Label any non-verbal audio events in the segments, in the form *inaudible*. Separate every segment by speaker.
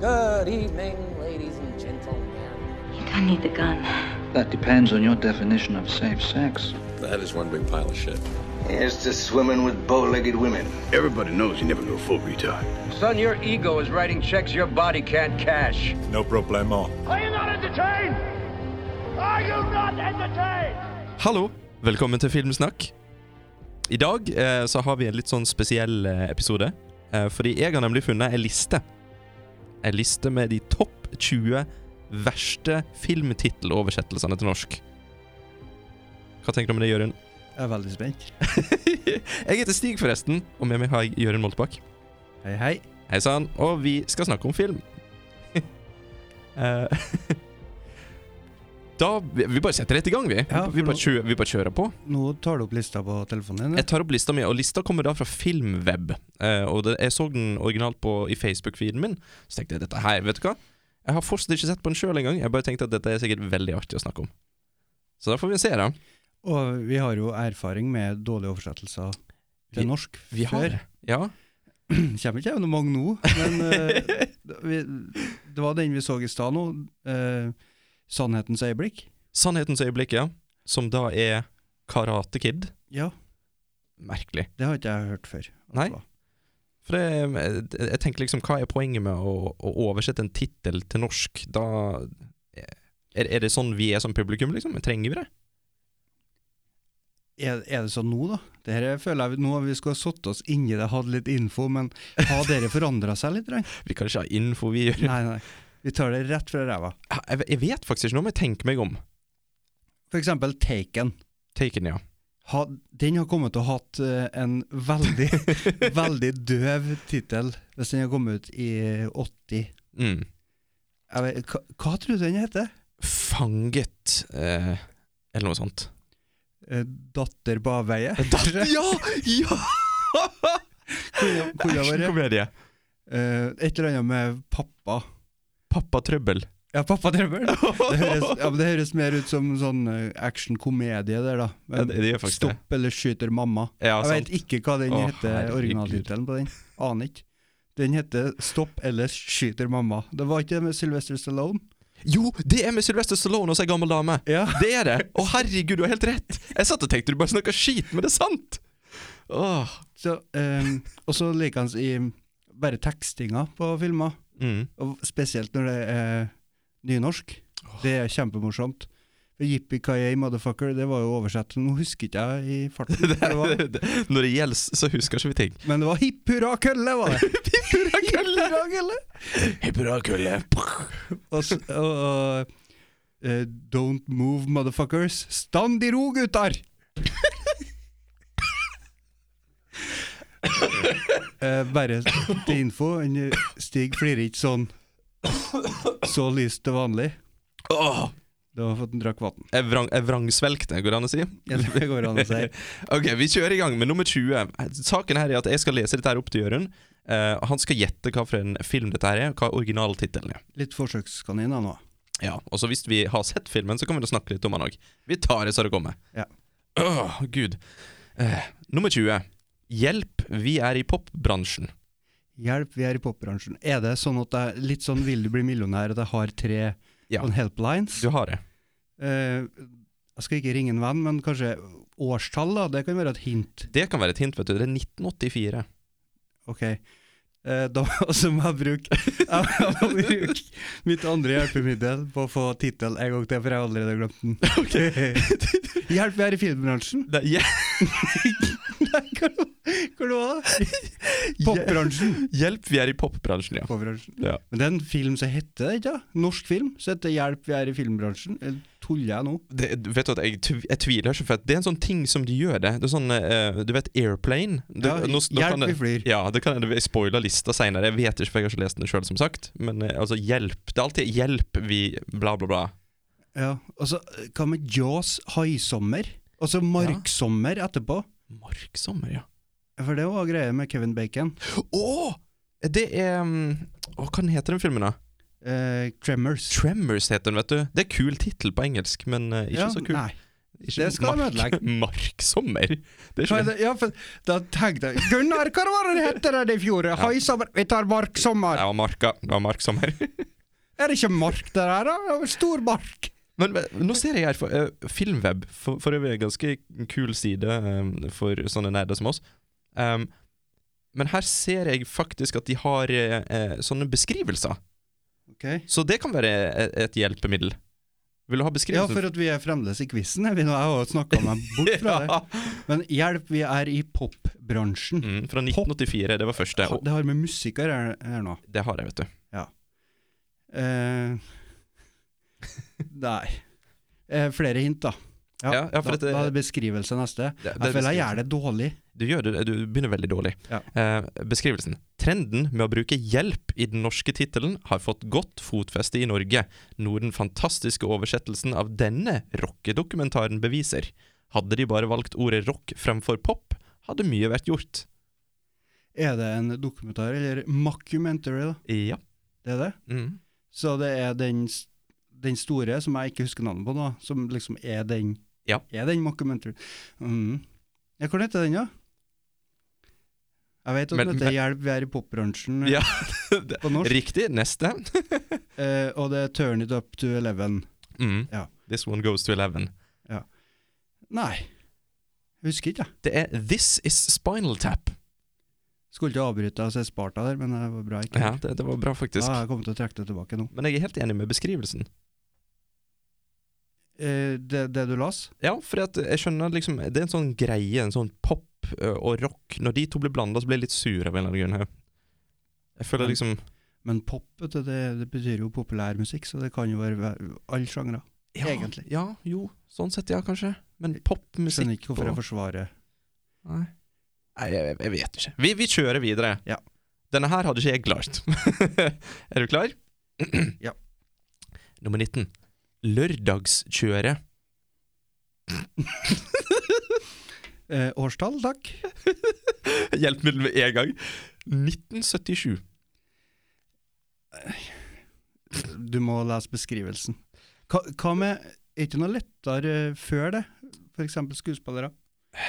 Speaker 1: Good evening, ladies and gentlemen.
Speaker 2: You don't need the gun.
Speaker 3: That depends on your definition of safe sex.
Speaker 4: That is one big pile of shit.
Speaker 5: Here's to swimming with bow-legged women.
Speaker 6: Everybody knows you never go full retard.
Speaker 7: Son, your ego is writing checks your body can't cash.
Speaker 8: No problemo.
Speaker 9: Are you not entertained? Are you not entertained?
Speaker 10: Hallo, velkommen til Filmsnakk. I dag eh, så har vi en litt sånn spesiell eh, episode. Eh, fordi jeg har nemlig funnet en liste. En liste med de topp 20 verste filmtitteloversettelsene til norsk. Hva tenker du om det, Jørund? *laughs*
Speaker 11: Jeg er veldig spent.
Speaker 10: Jeg heter Stig, forresten, og med meg har jeg Jørund Moltbakk.
Speaker 11: Hei, hei.
Speaker 10: Hei sann, og vi skal snakke om film. *laughs* Eh, *laughs* da Vi vi bare setter rett i gang, vi.
Speaker 11: Ja,
Speaker 10: vi,
Speaker 11: for
Speaker 10: bare
Speaker 11: nå-
Speaker 10: kjø, vi bare kjører på.
Speaker 11: Nå tar du opp lista på telefonen din.
Speaker 10: Jeg tar opp lista mi, og lista kommer da fra Filmweb. Eh, og det, jeg så den originalt på, i Facebook-feeden min, så tenkte jeg dette her, vet du hva? Jeg har fortsatt ikke sett på den sjøl engang. Jeg bare tenkte at dette er sikkert veldig artig å snakke om. Så da får vi se, da.
Speaker 11: Og vi har jo erfaring med dårlige oversettelser til
Speaker 10: Vi-
Speaker 11: norsk
Speaker 10: Vi
Speaker 11: før. *clears throat*
Speaker 10: har Ja.
Speaker 11: Kommer ikke gjennom mange nå, men
Speaker 10: *laughs*
Speaker 11: eh, vi, det var den vi så i stad nå. eh, 'Sannhetens øyeblikk'.
Speaker 10: Sannhetens øyeblikk, ja. Som da er Karate Kid.
Speaker 11: Ja,
Speaker 10: Merkelig.
Speaker 11: det har ikke jeg hørt før. at
Speaker 10: Nei.
Speaker 11: det var.
Speaker 10: For det, jeg- jeg tenker liksom, hva er poenget med å, å oversette en tittel til norsk? Da eh, er, er det sånn vi er som publikum, liksom? Trenger vi det?
Speaker 11: Er, er det sånn nå, da? Det her føler jeg vi- nå vi skulle ha satt oss inni det, hatt litt info, men har dere forandra seg litt?
Speaker 10: *laughs*
Speaker 11: Reng?
Speaker 10: Vi kan ikke ha info, vi gjør
Speaker 11: Nei, nei. Vi tar det rett fra ræva.
Speaker 10: jeg, jeg vet faktisk ikke, nå må jeg tenke meg om.
Speaker 11: For eksempel 'Taken'.
Speaker 10: Taken, ja.
Speaker 11: ha, den har kommet til å ha hatt eh, en veldig,
Speaker 10: *laughs*
Speaker 11: veldig døv tittel hvis den har kommet ut i 80.
Speaker 10: Mm.
Speaker 11: Jeg vet, hva, hva tror du den heter?
Speaker 10: Fanget eh, Eller noe sånt.
Speaker 11: Eh, Datter på avveie?
Speaker 10: ja! ja!
Speaker 11: Kunne- kunne vært.
Speaker 10: Actionkomedie.
Speaker 11: Eh, et eller annet med pappa.
Speaker 10: Pappatrøbbel.
Speaker 11: Ja, pappatrøbbel. Det høres, ja, men det høres mer ut som sånn eh, actionkomedie der, da.
Speaker 10: Ja, det- det gjør faktisk det.
Speaker 11: Stopp eller skyter mamma.
Speaker 10: Ja,
Speaker 11: jeg
Speaker 10: sant.
Speaker 11: vet ikke hva den
Speaker 10: Å,
Speaker 11: heter,
Speaker 10: herregud.
Speaker 11: originaltittelen på den. Aner ikke. Den heter 'Stopp eller skyter mamma'. Det var ikke det med Sylvester Stallone?
Speaker 10: Jo, det er med Sylvester Stallone og ei gammel dame!
Speaker 11: Ja.
Speaker 10: Det er det! Å, herregud, du har helt rett! Jeg satt og tenkte du bare snakka skit, men det er sant! Åh.
Speaker 11: Så, ehm, og så liker han i bare tekstinga på filmer,
Speaker 10: Mm. *laughs*
Speaker 11: og spesielt når det er nynorsk. Det er kjempemorsomt. Jippi-kayay, motherfucker, det var jo oversett. Nå husker ikke jeg i farten.
Speaker 10: *laughs*
Speaker 11: hva Det var.
Speaker 10: Når det gjelder, så husker ikke vi ting.
Speaker 11: Men det var hipp hurra kølle,
Speaker 10: *laughs*
Speaker 11: var det! hipp hurra kølle!
Speaker 10: Bra kølle.
Speaker 11: Og, s- og, og eh, Don't move, motherfuckers. Stand i ro, gutter! Eh, bare til info, en, eh, Stig flirer ikke sånn så lyst til vanlig.
Speaker 10: Åh.
Speaker 11: Da har han fått en drakk vann.
Speaker 10: Jeg, vrang, jeg vrangsvelgte, går det an å si?
Speaker 11: Ja, det går an å si.
Speaker 10: *laughs* Ok, vi kjører i gang med nummer 20. Saken her er at jeg skal lese dette her opp til Jørund. Eh, han skal gjette hva for en film dette her er, hva originaltittelen er.
Speaker 11: Litt forsøkskaniner nå.
Speaker 10: Ja, og så hvis vi har sett filmen, så kan vi da snakke litt om den òg. Vi tar det så det kommer.
Speaker 11: Ja.
Speaker 10: Åh, gud. Eh, nummer 20. Hjelp, vi er i popbransjen.
Speaker 11: Hjelp, vi er i popbransjen. Er det sånn at jeg litt sånn vil du bli millionær, at jeg har tre
Speaker 10: Ja.
Speaker 11: sånn helplines?
Speaker 10: Du har det.
Speaker 11: Eh, jeg skal ikke ringe en venn, men kanskje årstall, da. Det kan være et hint.
Speaker 10: Det kan være et hint, vet du. Det er 1984.
Speaker 11: Ok. Eh, da så må jeg bruke jeg *laughs* må bruke mitt andre hjelpemiddel på å få tittel en gang til, for jeg har allerede glemt *laughs* den. Hjelp, vi er i filmbransjen.
Speaker 10: Det, hje-
Speaker 11: *laughs* Nei, hva hva var det? *laughs* Popbransjen.
Speaker 10: hjelp, vi er i popbransjen, ja.
Speaker 11: Popbransjen.
Speaker 10: Ja.
Speaker 11: Men det er en film som heter det, ikke? da? Norsk film som heter 'Hjelp, vi er i filmbransjen'. Eller Tuller jeg nå?
Speaker 10: det, du vet at jeg, tv- jeg tviler ikke, for at det er en sånn ting som de gjør det. Det er sånn, eh, Du vet Airplane? Du,
Speaker 11: Ja, hjelp,
Speaker 10: kan jeg-
Speaker 11: vi flyr.
Speaker 10: Ja, det kan jeg, jeg spoiler lista seinere. Jeg vet ikke, for jeg har ikke lest den sjøl, som sagt. Men eh, altså, hjelp. Det er alltid 'hjelp, vi bla, bla, bla'.
Speaker 11: Ja. Og så eh, hva med Jaws haisommer? Og så marksommer etterpå.
Speaker 10: Marksommer, ja.
Speaker 11: For det var greia med Kevin Bacon.
Speaker 10: Å! Det er mm, Å, hva den heter den filmen, da?
Speaker 11: Eh, Tremors.
Speaker 10: Tremors heter den, vet du. Det er kul tittel på engelsk, men eh, ikke
Speaker 11: Ja,
Speaker 10: så kul.
Speaker 11: Nei.
Speaker 10: Ikke
Speaker 11: Det skal de
Speaker 10: mark, *laughs* marksommer. Det er ikke det.
Speaker 11: Ja, for da tenkte jeg Gunnar, hva var det det hette der i fjor? Haisommer? Vi tar
Speaker 10: Det
Speaker 11: marksommer.
Speaker 10: var marka. Det var marksommer.
Speaker 11: Er det ikke mark der her, da? Det var Stor mark.
Speaker 10: Men men, nå ser jeg her for, eh, Filmweb, for, for øvrig en ganske kul side eh, for sånne nerder som oss. Ehm, men her ser jeg faktisk at de har eh, eh, sånne beskrivelser.
Speaker 11: Ok.
Speaker 10: Så det kan være et, et hjelpemiddel. Vil du ha
Speaker 11: Ja,
Speaker 10: beskrivelser?
Speaker 11: for at vi er fremdeles i quizen. Jeg har jo snakka meg bort *laughs* fra det. Men hjelp, vi er i popbransjen.
Speaker 10: *laughs* Mm, fra 1984. Det var første. Og
Speaker 11: Det har med musikk å gjøre her nå.
Speaker 10: det har jeg, vet du.
Speaker 11: Eh, *laughs* nei. Eh, flere hint, da.
Speaker 10: Ja, ja, for
Speaker 11: da,
Speaker 10: dette-
Speaker 11: da er det beskrivelse neste.
Speaker 10: Det- det er
Speaker 11: jeg føler jeg
Speaker 10: beskrivelse.
Speaker 11: gjør det dårlig.
Speaker 10: Du, gjør det, du begynner veldig dårlig.
Speaker 11: Ja.
Speaker 10: Eh, beskrivelsen. Trenden med å bruke hjelp i den norske tittelen har fått godt fotfeste i Norge, noe den fantastiske oversettelsen av denne rockedokumentaren beviser. Hadde de bare valgt ordet rock fremfor pop, hadde mye vært gjort.
Speaker 11: Er det en dokumentar, eller mockumentary, da?
Speaker 10: Ja.
Speaker 11: Det er det?
Speaker 10: Mm.
Speaker 11: Så det er den, s- den store, som jeg ikke husker navnet på nå, som liksom er den
Speaker 10: Ja.
Speaker 11: Er den mockumentary. Mm. Ja, hvordan heter den, da? Jeg vet at
Speaker 10: Men-
Speaker 11: den
Speaker 10: men-
Speaker 11: heter Hjelp, vi er i popbransjen
Speaker 10: Ja.
Speaker 11: Mm. *laughs* på norsk,
Speaker 10: Riktig. Neste.
Speaker 11: eh, og det er Turn it up to eleven.
Speaker 10: Mm.
Speaker 11: Ja.
Speaker 10: This one goes to eleven.
Speaker 11: Nei, jeg husker ikke, jeg.
Speaker 10: Det er This Is Spinal Tap.
Speaker 11: Skulle ikke avbryte og se Sparta der, men det var bra. ikke?
Speaker 10: Ja, det, det var bra, faktisk.
Speaker 11: Ja, jeg kommer til å trekke det tilbake nå.
Speaker 10: Men jeg er helt enig med beskrivelsen.
Speaker 11: Eh, det, det du las?
Speaker 10: Ja, for at jeg skjønner liksom Det er en sånn greie, en sånn pop ø, og rock Når de to blir blanda, så blir jeg litt sur av en eller annen grunn her. Jeg føler liksom
Speaker 11: Men pop, vet du, det, det betyr jo populærmusikk, så det kan jo være være alle sjangre.
Speaker 10: ja,
Speaker 11: Egentlig.
Speaker 10: Ja, jo. Sånn sett, ja, kanskje. Men popmusikk
Speaker 11: Skjønner ikke hvorfor jeg
Speaker 10: og-
Speaker 11: forsvarer
Speaker 10: Nei, Nei jeg, jeg- jeg vet ikke. Vi, vi kjører videre.
Speaker 11: Ja.
Speaker 10: Denne her hadde ikke jeg klart. *laughs* er du klar? *clears throat*
Speaker 11: Ja.
Speaker 10: Nummer 19. Lørdagskjøret.
Speaker 11: Eh, årstall, takk.
Speaker 10: Hjelp meg med en gang. 1977.
Speaker 11: Du må lese beskrivelsen. Hva, hva med Er ikke noe lettere eh, før det? For eksempel skuespillere.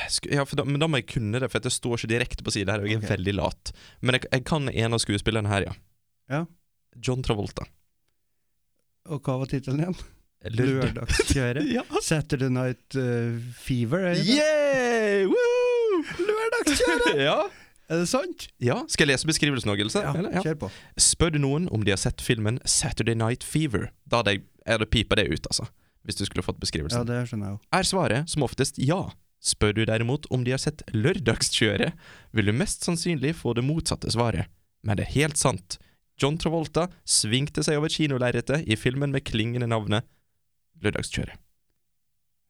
Speaker 10: Sk- Ja, for da, men da må jeg kunne det, for at jeg står ikke direkte på siden her, og jeg er
Speaker 11: Ok.
Speaker 10: veldig lat. Men jeg, jeg kan en av skuespillerne her, ja.
Speaker 11: Ja.
Speaker 10: John Travolta.
Speaker 11: Og hva var tittelen
Speaker 10: *laughs*
Speaker 11: igjen?
Speaker 10: Lørdag.
Speaker 11: Lørdagskjøret.
Speaker 10: *laughs* Ja.
Speaker 11: Saturday Night eh, Fever, er det, det?
Speaker 10: Yeah! Woo! Lørdagskjøret! *laughs* ja.
Speaker 11: er det sant?
Speaker 10: ja. Skal jeg lese beskrivelsen òg, Else?
Speaker 11: Ja,
Speaker 10: Eller? Ja.
Speaker 11: kjør på.
Speaker 10: Spør du noen om de har sett filmen Saturday Night Fever, da hadde jeg, jeg hadde pipa det ut, altså. Hvis du skulle fått beskrivelsen.
Speaker 11: Ja, det skjønner jeg jo.
Speaker 10: er svaret som oftest ja. Spør du derimot om de har sett lørdagskjøret, vil du mest sannsynlig få det motsatte svaret. Men det er helt sant. John Travolta svingte seg over kinolerretet i filmen med klingende navnet Lørdagskjøret.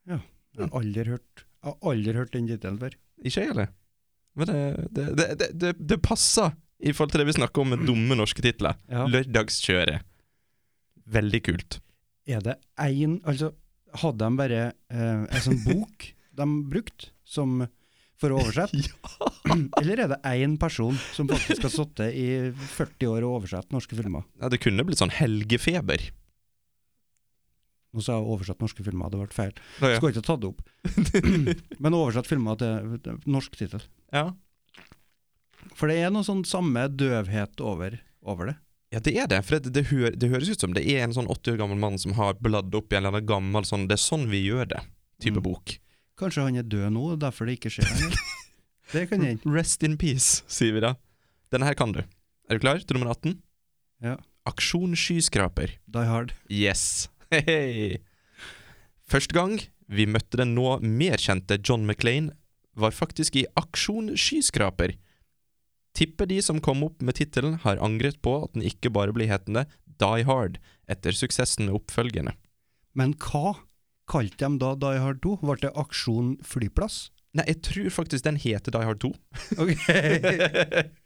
Speaker 11: Jeg har aldri hørt, jeg har aldri hørt den tittelen før.
Speaker 10: Ikke jeg, eller? Men det, det, det, det, det, det passer i forhold til det vi snakker om med dumme norske titler.
Speaker 11: Ja.
Speaker 10: Lørdagskjøret. Veldig kult.
Speaker 11: Er det én Altså, hadde de bare eh, en
Speaker 10: *laughs*
Speaker 11: sånn bok de brukte som, for å oversette? *clears throat*
Speaker 10: *laughs*
Speaker 11: Eller er det én person som faktisk har sittet i 40 år og oversett norske filmer?
Speaker 10: Ja, det kunne blitt sånn helgefeber.
Speaker 11: Nå sa jeg oversatt norske filmer, det ble feil.
Speaker 10: Nå, ja.
Speaker 11: Skulle ikke tatt det opp. Men oversatt filmer til til norsk tittel.
Speaker 10: Ja.
Speaker 11: For det er noe sånn samme døvhet over, over det.
Speaker 10: Ja, det er det. For det, det, hø det høres ut som det er en sånn 80 år gammel mann som har bladd opp i en eller annen gammel sånn 'det er sånn vi gjør det' type
Speaker 11: Mm.
Speaker 10: bok.
Speaker 11: Kanskje han er død nå, og derfor det ikke skjer lenger. Det kan hende.
Speaker 10: Rest in peace, sier vi da. Denne her kan du. Er du klar til nummer 18?
Speaker 11: Ja.
Speaker 10: Aksjon skyskraper.
Speaker 11: Die Hard.
Speaker 10: Yes. *laughs* Hei. Første gang vi møtte den nå mer kjente John McClain, var faktisk i Aksjon skyskraper. Tipper de som kom opp med tittelen, har angret på at den ikke bare blir hetende Die Hard etter suksessen med oppfølgende.
Speaker 11: Men hva kalte de da Die Hard 2? Ble det Aksjon Flyplass?
Speaker 10: Nei, jeg tror faktisk den heter Die Hard 2.
Speaker 11: Ok. *laughs*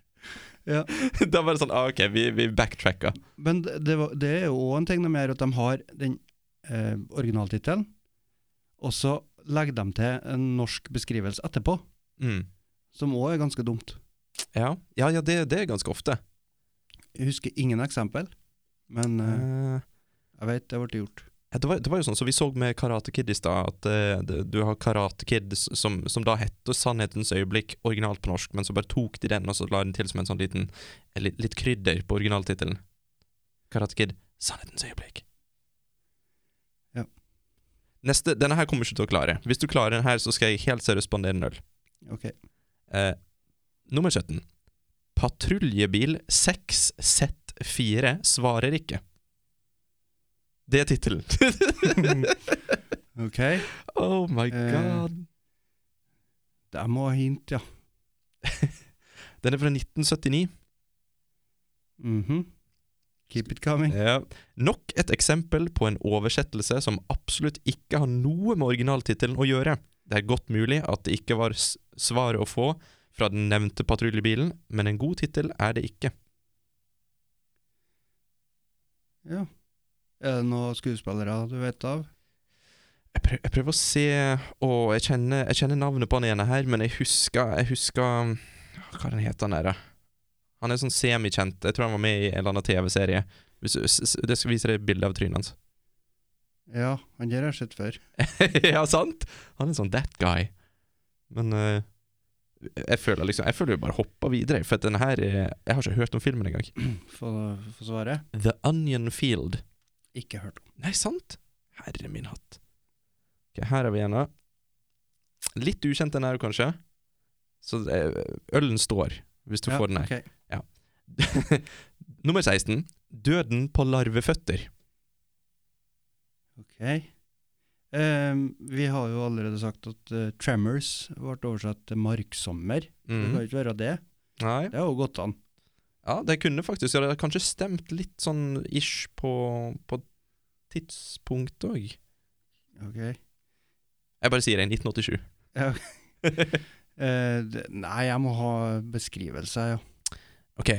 Speaker 11: Ja.
Speaker 10: *laughs* da var det sånn, ah, ok, vi, vi backtracka.
Speaker 11: Men det, det var- det er jo òg en ting de gjør, at de har den eh, originaltittelen, og så legger de til en norsk beskrivelse etterpå,
Speaker 10: Mm.
Speaker 11: som òg er ganske dumt.
Speaker 10: Ja, ja, ja det, det er ganske ofte.
Speaker 11: Jeg husker ingen eksempel, men eh,
Speaker 10: Eh,
Speaker 11: jeg vet det ble gjort.
Speaker 10: jeg Det var, det var jo sånn som vi så med Karate Kid i stad, at eh, det- du har Karate Kid s- som, som da heter 'Sannhetens øyeblikk' originalt på norsk, men så bare tok de den og så la den til som en sånn liten eh, li- litt krydder på originaltittelen. Karate Kid 'Sannhetens øyeblikk'.
Speaker 11: Ja.
Speaker 10: Neste, Denne her kommer du ikke til å klare. Hvis du klarer den her, så skal jeg helt seriøst spandere en øl.
Speaker 11: Ok.
Speaker 10: Eh, nummer 17. Patruljebil 6Z4 svarer ikke. Det er tittelen.
Speaker 11: ok.
Speaker 10: oh my
Speaker 11: Eh.
Speaker 10: god.
Speaker 11: Der må jeg hint, ja.
Speaker 10: Den er fra 1979.
Speaker 11: Mhm. Keep it coming.
Speaker 10: Ja. Nok et eksempel på en oversettelse som absolutt ikke har noe med originaltittelen å gjøre. Det er godt mulig at det ikke var s- svar å få fra den nevnte patruljebilen, men en god tittel er det ikke.
Speaker 11: Ja. Er det noen skuespillere du vet av?
Speaker 10: Jeg, prøv, jeg prøver å se Å, jeg kjenner, jeg kjenner navnet på han ene her, men jeg husker, jeg husker Hva er den heter han der, da? Han er sånn semikjent. Jeg tror han var med i en eller annen TV-serie. Hvis du- s- s- Det skal vise deg et bilde av trynet hans. *laughs*
Speaker 11: Ja, han der har jeg sett før.
Speaker 10: ja, sant? Han er sånn that guy. Men eh, jeg føler liksom Jeg føler vi bare hopper videre, for at den her eh, Jeg har ikke hørt om filmen engang.
Speaker 11: Få få svaret.
Speaker 10: The Onion Field.
Speaker 11: Ikke hørt om.
Speaker 10: Nei, sant? Herre min hatt. Ok, her har vi en da. Litt ukjent den her, kanskje. Så eh, ølen står, hvis du
Speaker 11: Ja,
Speaker 10: får den her.
Speaker 11: ok.
Speaker 10: *laughs* Nummer 16. Døden på larveføtter.
Speaker 11: Ok. Ehm, vi har jo allerede sagt at eh, Tremors ble oversatt til marksommer. Det
Speaker 10: Mm.
Speaker 11: kan jo ikke være det.
Speaker 10: Nei.
Speaker 11: Det har jo gått an.
Speaker 10: Ja, det kunne faktisk. Ja, det har kanskje stemt litt sånn ish på, på tidspunkt òg.
Speaker 11: Ok.
Speaker 10: Jeg bare sier det. 1987.
Speaker 11: Ja. Eh, det, nei, jeg må ha beskrivelse, ja.
Speaker 10: Ok.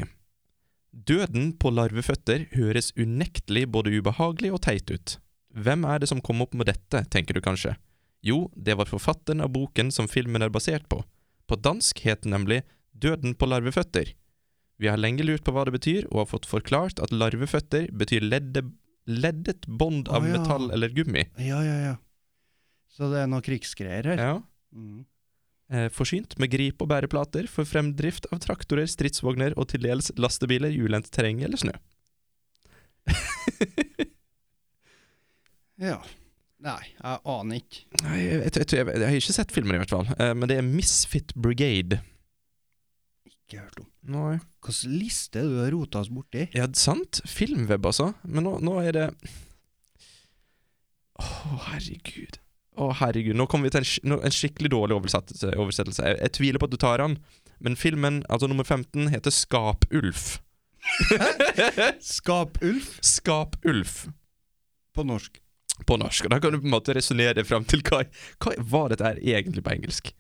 Speaker 10: Døden på larveføtter høres unektelig både ubehagelig og teit ut. Hvem er det som kom opp med dette, tenker du kanskje? Jo, det var forfatteren av boken som filmen er basert på. På dansk het den nemlig Døden på larveføtter. Vi har lenge lurt på hva det betyr, og har fått forklart at larveføtter betyr ledde, leddet bånd av
Speaker 11: Å, ja.
Speaker 10: metall eller gummi.
Speaker 11: Ja, ja, ja. Så det er noen krigsgreier her.
Speaker 10: Ja.
Speaker 11: Mm.
Speaker 10: Eh, Forsynt med grip- og bæreplater for fremdrift av traktorer, stridsvogner og til dels lastebiler i ulendt terreng eller snø.
Speaker 11: Ja. Nei, jeg aner ikke.
Speaker 10: Nei, jeg, jeg, jeg, jeg, jeg har ikke sett filmen i hvert fall, eh, men det er Misfit Brigade.
Speaker 11: Ikke hørt om.
Speaker 10: Nei.
Speaker 11: Hvilken liste du har rota oss borti?
Speaker 10: Ja, sant? Filmweb, altså. Men nå, nå er det Å, herregud. Å, herregud. Nå kommer vi til en, sk- nå, en skikkelig dårlig oversettelse. oversettelse. Jeg, jeg tviler på at du tar den, men filmen, altså nummer 15, heter Skapulf. *laughs*
Speaker 11: Skapulf
Speaker 10: Skapulf.
Speaker 11: på norsk.
Speaker 10: på norsk. Og da kan du på en måte resonnere deg fram til hva, hva var dette her egentlig på engelsk.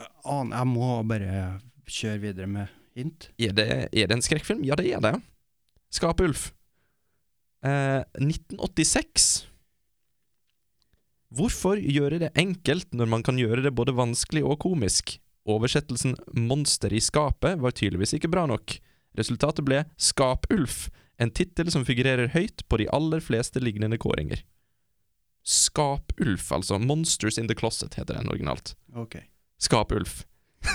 Speaker 11: Jeg aner, jeg må bare kjøre videre med hint.
Speaker 10: Er det, er det en skrekkfilm? Ja, det er det. Skapulf. Eh, 1986. Hvorfor gjøre det enkelt når man kan gjøre det både vanskelig og komisk? Oversettelsen 'Monster i skapet' var tydeligvis ikke bra nok. Resultatet ble 'Skapulf', en tittel som figurerer høyt på de aller fleste lignende kåringer. Skapulf, altså. 'Monsters in the Closet' heter den originalt.
Speaker 11: Ok.
Speaker 10: Skap Ulf. *laughs*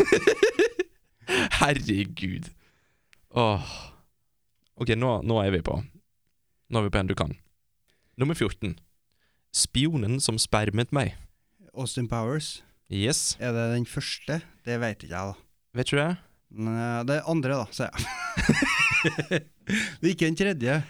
Speaker 10: Herregud. Åh. Ok, nå, nå er vi på. Nå er vi på en du kan. Nummer 14. Spionen som spermet meg.
Speaker 11: Austin Powers,
Speaker 10: Yes.
Speaker 11: er det den første? Det veit ikke jeg, da.
Speaker 10: Vet du det?
Speaker 11: Nei, det er andre, da, sier jeg. *laughs* det er ikke den tredje.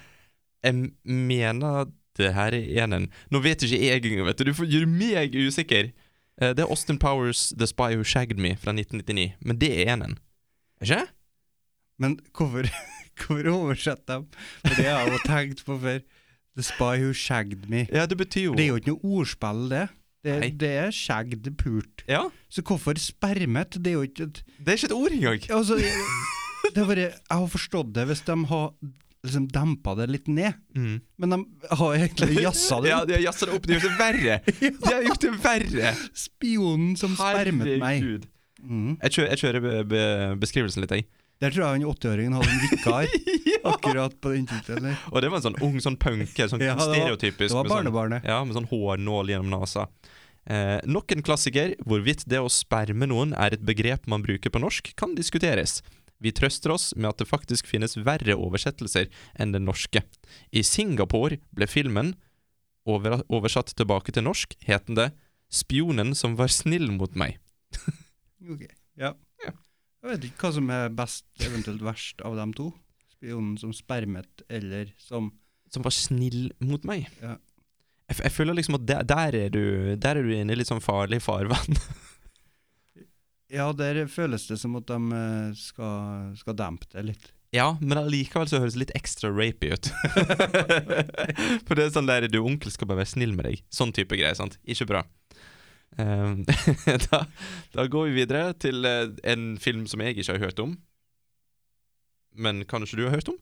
Speaker 10: Jeg mener det her er enen. Nå vet ikke jeg engang, vet du. Du får- gjør meg usikker. Eh, Det er Austin Powers' The Spy Who Shagged Me fra 1999, men det er enen. Er ikke det?
Speaker 11: Men hvorfor, *laughs* hvorfor oversette dem? For det har jeg jo tenkt på før. The Spy Who Shagged Me.
Speaker 10: Ja, det betyr
Speaker 11: Det er jo ikke noe ordspill, det. Det,
Speaker 10: Nei.
Speaker 11: det er shagged pult.
Speaker 10: Ja,
Speaker 11: Så hvorfor spermet? Det er jo ikke et
Speaker 10: det er ikke et ord engang.
Speaker 11: Altså, *laughs* det er bare, jeg har forstått det hvis de har liksom dempa det litt ned.
Speaker 10: Mm.
Speaker 11: Men de har egentlig jazza det.
Speaker 10: *laughs* Ja,
Speaker 11: opp.
Speaker 10: de har jazza det opp. De har gjort
Speaker 11: *laughs*
Speaker 10: det verre. De har gjort det verre.
Speaker 11: Spionen som spermet meg. Mm. *laughs*
Speaker 10: Herregud. Jeg kjører, jeg kjører be, be, beskrivelsen litt, jeg.
Speaker 11: Der tror jeg han åtteåringen hadde en
Speaker 10: *laughs*
Speaker 11: vikar akkurat på den tittelen. der.
Speaker 10: Og det var en sånn ung sånn punker, sånn
Speaker 11: Ja, det var-
Speaker 10: stereotypisk.
Speaker 11: det var
Speaker 10: med sånn-
Speaker 11: barnebarnet.
Speaker 10: Ja, med sånn hårnål gjennom nasa. Eh, nok en klassiker hvorvidt det å sperme noen er et begrep man bruker på norsk, kan diskuteres. Vi trøster oss med at det faktisk finnes verre oversettelser enn den norske. I Singapore ble filmen, over, oversatt tilbake til norsk, het den det 'Spionen som var snill mot meg'.
Speaker 11: Ok, ja. Jeg vet ikke hva som er best, eventuelt verst, av dem to. Spionen som spermet, eller som
Speaker 10: Som var snill mot meg.
Speaker 11: Ja.
Speaker 10: Jeg, f- jeg føler liksom at der, der er du Der er du inne i litt sånn farlig farvann. *laughs*
Speaker 11: Ja, der føles det som at de eh, skal, skal dempe det litt.
Speaker 10: Ja, men allikevel så høres det litt ekstra rapey ut. *laughs* For det er sånn der du onkel skal bare være snill med deg. Sånn type greier, sant. Ikke bra. Ehm, *laughs* da, da går vi videre til eh, en film som jeg ikke har hørt om. Men kanskje du har hørt om?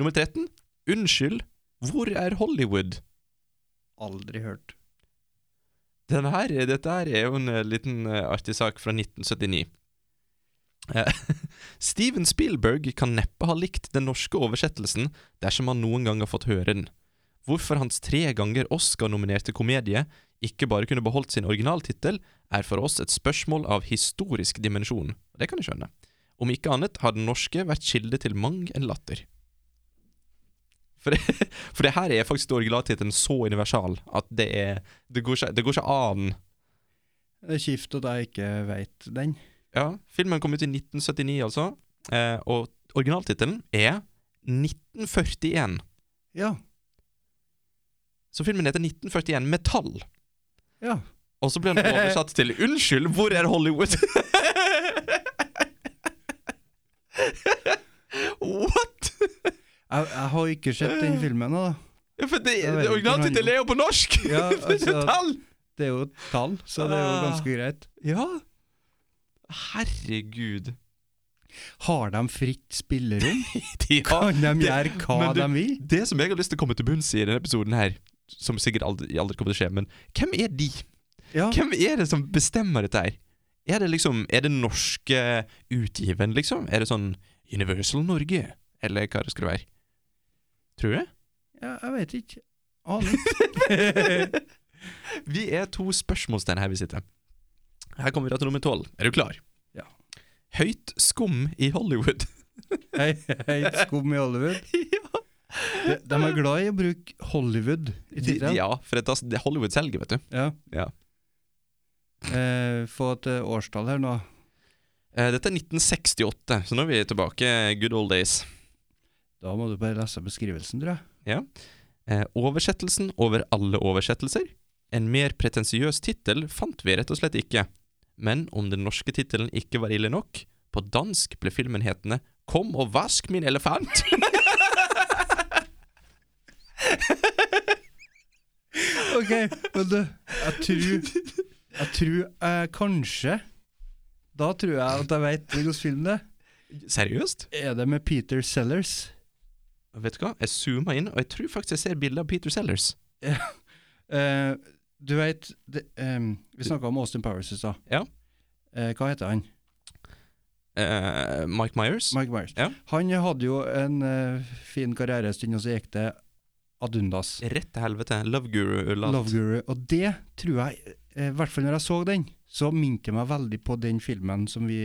Speaker 10: Nummer 13. Unnskyld, hvor er Hollywood?
Speaker 11: Aldri hørt.
Speaker 10: Den her, dette her er jo en eh, liten eh, artig sak fra 1979. Eh, *laughs* Steven Spielberg kan neppe ha likt den norske oversettelsen dersom han noen gang har fått høre den. Hvorfor hans tre ganger Oscar-nominerte komedie ikke bare kunne beholdt sin originaltittel, er for oss et spørsmål av historisk dimensjon. Det kan jeg skjønne. Om ikke annet har den norske vært kilde til mang en latter. For det, *laughs* for det her er faktisk originaltittelen så universal at det er det går, ikke, det går ikke an.
Speaker 11: Det er kjipt at jeg ikke veit den.
Speaker 10: Ja, filmen kom ut i 1979, altså. Eh, og originaltittelen er 1941.
Speaker 11: Ja.
Speaker 10: Så filmen heter 1941 Metall.
Speaker 11: Ja.
Speaker 10: Og så ble den oversatt til 'Unnskyld, hvor er Hollywood?' *laughs* What?!
Speaker 11: Jeg, jeg har ikke sett den filmen, da.
Speaker 10: For det,
Speaker 11: Jeg vet ikke
Speaker 10: originaltittelen er jo på norsk!
Speaker 11: Ja,
Speaker 10: *laughs*
Speaker 11: altså-
Speaker 10: Metall!
Speaker 11: Det er jo et tall, så det er jo ganske greit.
Speaker 10: Ja. Herregud. *laughs*
Speaker 11: Har de fritt *laughs* spillerom?
Speaker 10: De har
Speaker 11: Kan de gjøre hva
Speaker 10: men du-
Speaker 11: de vil?
Speaker 10: Det som jeg har lyst til å komme til bunns i i denne episoden her, som sikkert aldri, aldri kommer til å skje, men hvem er de?
Speaker 11: Ja.
Speaker 10: Hvem er det som bestemmer dette her? Er det liksom, er det norske utgiveren, liksom? Er det sånn Universal Norge, eller hva det skulle være? Tror du?
Speaker 11: ja jeg veit ikke. Aner ikke. *laughs*
Speaker 10: Vi er to spørsmålstegn her vi sitter. Her kommer vi da til nummer tolv. Er du klar?
Speaker 11: Ja.
Speaker 10: Høyt skum i Hollywood.
Speaker 11: *laughs* Hei, hei, skum i Hollywood.
Speaker 10: *laughs* ja.
Speaker 11: De, de er glad i å bruke Hollywood i
Speaker 10: De,
Speaker 11: tittelen.
Speaker 10: ja, for det tas- det er Hollywood selger, vet du.
Speaker 11: Ja.
Speaker 10: Ja.
Speaker 11: Eh, få et eh, årstall her nå.
Speaker 10: Eh, Dette er 1968, så nå er vi tilbake good old days.
Speaker 11: Da må du bare lese beskrivelsen, tror jeg.
Speaker 10: Eh, oversettelsen over alle oversettelser? En mer pretensiøs tittel fant vi rett og slett ikke. Men om den norske tittelen ikke var ille nok, på dansk ble filmen hetende Kom og vask min elefant! *laughs*
Speaker 11: Ok, men du, jeg tror Jeg tror eh, kanskje Da tror jeg at jeg vet hvilken film det er.
Speaker 10: Seriøst?
Speaker 11: Er det med Peter Sellers?
Speaker 10: Vet du hva, jeg zooma inn, og jeg tror faktisk jeg ser bilde av Peter Sellers.
Speaker 11: Eh, du vet det, em, Vi snakka om Austin Powers i stad.
Speaker 10: Ja.
Speaker 11: Eh, hva heter han?
Speaker 10: Eh, Mike Myers?
Speaker 11: Mike Myers.
Speaker 10: Ja.
Speaker 11: Han hadde jo en eh, fin karriere en stund, og så gikk det ad undas.
Speaker 10: Rett til helvete. Love Guru. Land.
Speaker 11: Love Guru. Og det tror jeg, eh, i hvert fall når jeg så den, så minte jeg meg veldig på den filmen som vi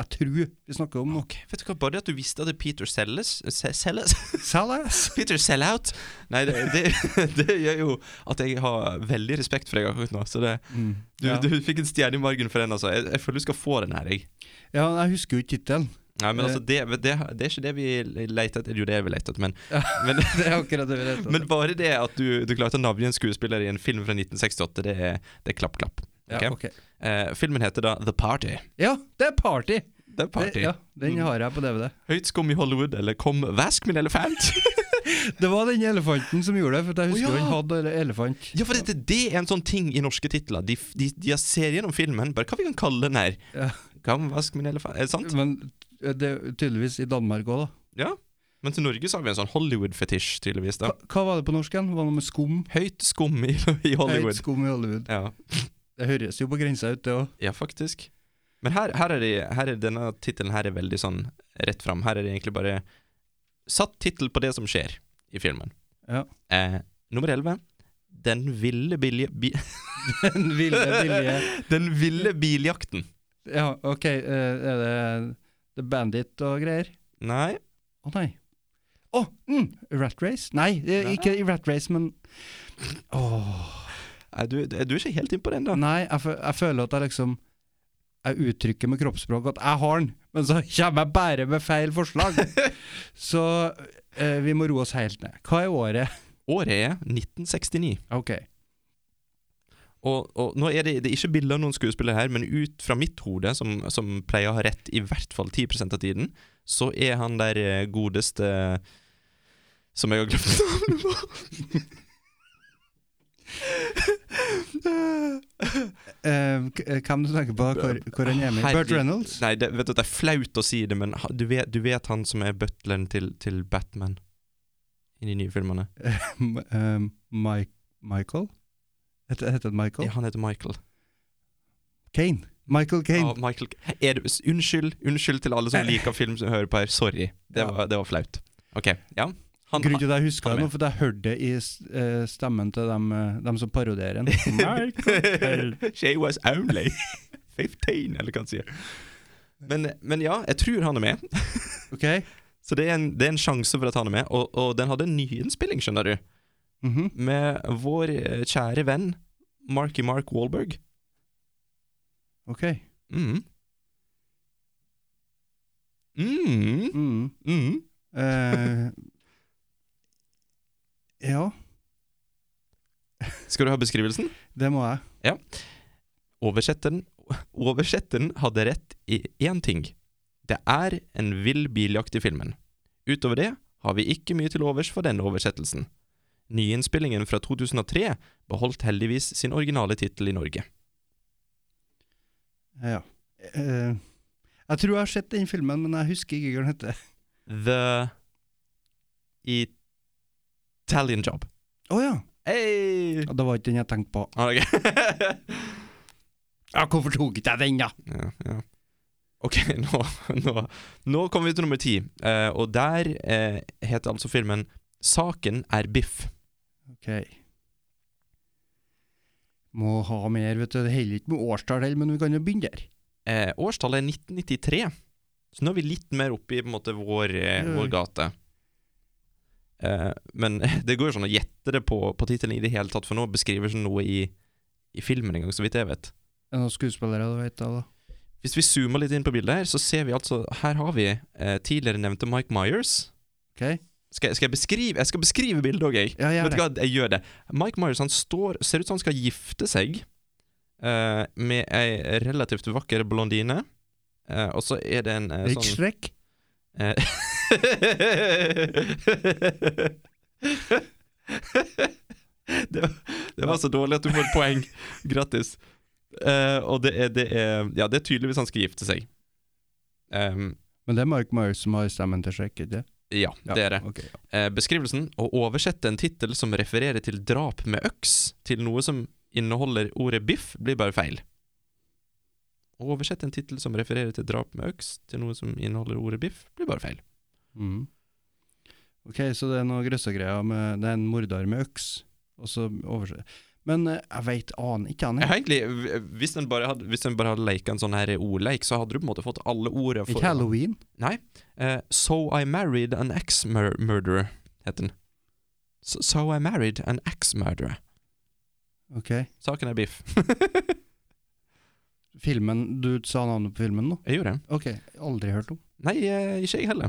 Speaker 11: Jeg tror vi snakker
Speaker 10: *laughs*
Speaker 11: om nå.
Speaker 10: Ok, Vet du hva, bare det at du visste at det er Peter Sellers Se- Sellers?
Speaker 11: Sellers!
Speaker 10: Peter Sellout! Nei, det, det, *laughs* det gjør jo at jeg har veldig respekt for deg akkurat nå. Så det,
Speaker 11: Mm.
Speaker 10: du,
Speaker 11: Ja.
Speaker 10: du fikk en stjerne i margen for den, altså. Jeg, jeg føler du skal få den her, jeg.
Speaker 11: Ja, men jeg husker jo ikke tittelen.
Speaker 10: Nei, men altså, det, det, det er ikke det vi leter etter. Jo, det er vi leter etter, men, *laughs* men,
Speaker 11: *laughs* Det er akkurat det vi leter
Speaker 10: men bare det at du, du klarte å navngi en skuespiller i en film fra 1968, det er, det er klapp, klapp.
Speaker 11: Ja,
Speaker 10: Ok?
Speaker 11: ok.
Speaker 10: Eh, filmen heter da The Party.
Speaker 11: ja, det er Party!
Speaker 10: Det er
Speaker 11: Det,
Speaker 10: party.
Speaker 11: ja, den har jeg på DVD.
Speaker 10: Høyt skum i Hollywood, eller Kom, vask min elefant!
Speaker 11: Det var den elefanten som gjorde det, for jeg
Speaker 10: Å,
Speaker 11: husker
Speaker 10: ja.
Speaker 11: jo han hadde ele- elefant.
Speaker 10: Ja, for det, det er en sånn ting i norske titler. De, de, de ser gjennom filmen, bare hva vi kan kalle den her.
Speaker 11: Ja.
Speaker 10: Kan vask min elefant, er det sant?
Speaker 11: Men eh, det er tydeligvis i Danmark òg, da.
Speaker 10: Ja. Men til Norge så har vi en sånn Hollywood-fetisj, tydeligvis. da.
Speaker 11: Hva, hva var det på norsk igjen? Var det noe med skum?
Speaker 10: Høyt skum i, *laughs* i
Speaker 11: Høyt
Speaker 10: Hollywood.
Speaker 11: skum i Hollywood.
Speaker 10: Ja.
Speaker 11: Det høres jo på grensa ut, det òg.
Speaker 10: ja, faktisk. Men her, her, er, de, her er denne tittelen her er veldig sånn rett fram. Her er det egentlig bare satt tittel på det som skjer i filmen.
Speaker 11: Ja.
Speaker 10: Eh, nummer 11. Den ville bilje... Bi
Speaker 11: *laughs*
Speaker 10: *laughs*
Speaker 11: Den ville, billige
Speaker 10: Den ville biljakten.
Speaker 11: Ja, OK, eh, er det The Bandit og greier?
Speaker 10: Nei.
Speaker 11: Å nei. Å! mm, rat Race? Nei, eh,
Speaker 10: Nei.
Speaker 11: ikke i Rat Race, men
Speaker 10: Nei, du, du er ikke helt innpå den, da.
Speaker 11: *laughs* Nei, jeg, fø- jeg føler at jeg liksom Jeg uttrykker med kroppsspråk at jeg har den, men så *laughs* kommer jeg bare med feil forslag.
Speaker 10: *laughs*
Speaker 11: så eh, vi må roe oss helt ned. Hva er året?
Speaker 10: *laughs* Året er 1969.
Speaker 11: OK.
Speaker 10: Og, og nå er det, det er ikke bilder av noen skuespillere her, men ut fra mitt hode, som, som pleier å ha rett i hvert fall 10 av tiden, så er han der eh, godeste Som jeg har glemt navnet på.
Speaker 11: Eh, k- eh, hvem du tenker på? Hvor, hvor han er med? Burt
Speaker 10: Herregud.
Speaker 11: Reynolds?
Speaker 10: *laughs* Nei, det, vet du, det er flaut å si det, men ha- du vet, du vet han som er butleren til, til Batman i de nye filmene?
Speaker 11: M- eh, Mike, Michael? Heter, heter han Michael?
Speaker 10: Ja, han heter Michael.
Speaker 11: Kane. Michael
Speaker 10: Ja,
Speaker 11: Kane.
Speaker 10: Michael er det, unnskyld, unnskyld til alle som liker film som hører på her. Sorry. Det,
Speaker 11: Ja.
Speaker 10: var, det var flaut. OK. Ja. Han,
Speaker 11: Grunnen til at jeg husker
Speaker 10: han
Speaker 11: det
Speaker 10: er
Speaker 11: nå, for jeg hørte det i s- eh, stemmen til dem, eh, dem som
Speaker 10: *laughs*
Speaker 11: parodierer den. Michael Kane.
Speaker 10: *laughs* She was only 15, eller hva han sier. Men, men ja, jeg tror han er med.
Speaker 11: *laughs* OK?
Speaker 10: Så det er en, det er en sjanse for at han er med. Og, og den hadde en nyinnspilling, skjønner du.
Speaker 11: Mhm.
Speaker 10: Med vår eh, kjære venn Marky Mark Wahlberg.
Speaker 11: OK.
Speaker 10: Mm. Mm.
Speaker 11: Mm.
Speaker 10: Mm.
Speaker 11: Eh, ja,
Speaker 10: Skal du ha beskrivelsen?
Speaker 11: det må jeg.
Speaker 10: Oversetteren, oversetteren hadde rett i én ting. Det er en vill biljakt i filmen. Utover det har vi ikke mye til overs for denne oversettelsen. Nyinnspillingen fra 2003 beholdt heldigvis sin originale tittel i Norge.
Speaker 11: Ja. Eh, jeg tror jeg har sett den filmen, men jeg husker ikke hva den heter.
Speaker 10: The Italian Job.
Speaker 11: Å ja!
Speaker 10: Hey!
Speaker 11: Det var ikke den jeg tenkte på.
Speaker 10: Ah, ok. *laughs*
Speaker 11: Ja, Hvorfor tok ikke jeg den, da?
Speaker 10: ja, ja. Ok, *laughs* nå, nå, nå kommer vi til nummer ti, eh, og der eh, heter altså filmen Saken er biff.
Speaker 11: Ok. Må ha mer, vet du. Det holder ikke med årstall heller, men vi kan jo begynne der.
Speaker 10: Eh, årstallet er 1993, så nå er vi litt mer oppe i på en måte, vår, eh,
Speaker 11: Ja.
Speaker 10: vår gate. Eh, men *laughs* det går jo sånn å gjette det på, på tittelen i det hele tatt, for nå beskriver ikke noe i, i filmen engang, så vidt jeg vet.
Speaker 11: Er det noen skuespillere du vet av, da?
Speaker 10: Hvis vi zoomer litt inn på bildet her, så ser vi altså Her har vi eh, tidligere nevnte Mike Myers.
Speaker 11: Ok?
Speaker 10: Skal, jeg- skal jeg beskrive Jeg skal beskrive bildet òg, jeg.
Speaker 11: Ja, gjør
Speaker 10: Vet du
Speaker 11: det.
Speaker 10: hva, jeg gjør det. Mike Myers han står, ser ut som han skal gifte seg eh, med ei relativt vakker blondine. Eh, og så er det en eh,
Speaker 11: Er det ikke
Speaker 10: sånn
Speaker 11: Shrek?
Speaker 10: eh, *laughs* det, det var så dårlig at du får et poeng. Grattis. Eh, og det er, det er Ja, det er tydeligvis han skal gifte seg. Ehm,
Speaker 11: Men det er Mark Myers som har stemmen til Shrek, ikke det?
Speaker 10: ja,
Speaker 11: Ja,
Speaker 10: det er det.
Speaker 11: ok, ja.
Speaker 10: Eh, beskrivelsen å oversette en tittel som refererer til drap med øks, til noe som inneholder ordet biff, blir bare feil. Å oversette en tittel som refererer til drap med øks, til noe som inneholder ordet biff, blir bare feil. Mm.
Speaker 11: Mhm. Ok, så det er noe grøssegreier med Det er en morder med øks, og så overse... Men eh, jeg veit aner ikke,
Speaker 10: Jeg
Speaker 11: aner.
Speaker 10: har egentlig, v- Hvis en bare hadde, hvis en bare hadde leket en sånn her ordleik, så hadde du på en måte fått alle ordene
Speaker 11: Ikke halloween?
Speaker 10: Eh, so I married an ex-murderer, heter den. So, so I married an ex-murderer.
Speaker 11: Ok.
Speaker 10: Saken er
Speaker 11: *laughs*
Speaker 10: biff.
Speaker 11: Filmen Du sa navnet på filmen nå?
Speaker 10: Jeg gjorde det.
Speaker 11: Ok, aldri hørt om.
Speaker 10: Nei, eh, ikke jeg heller.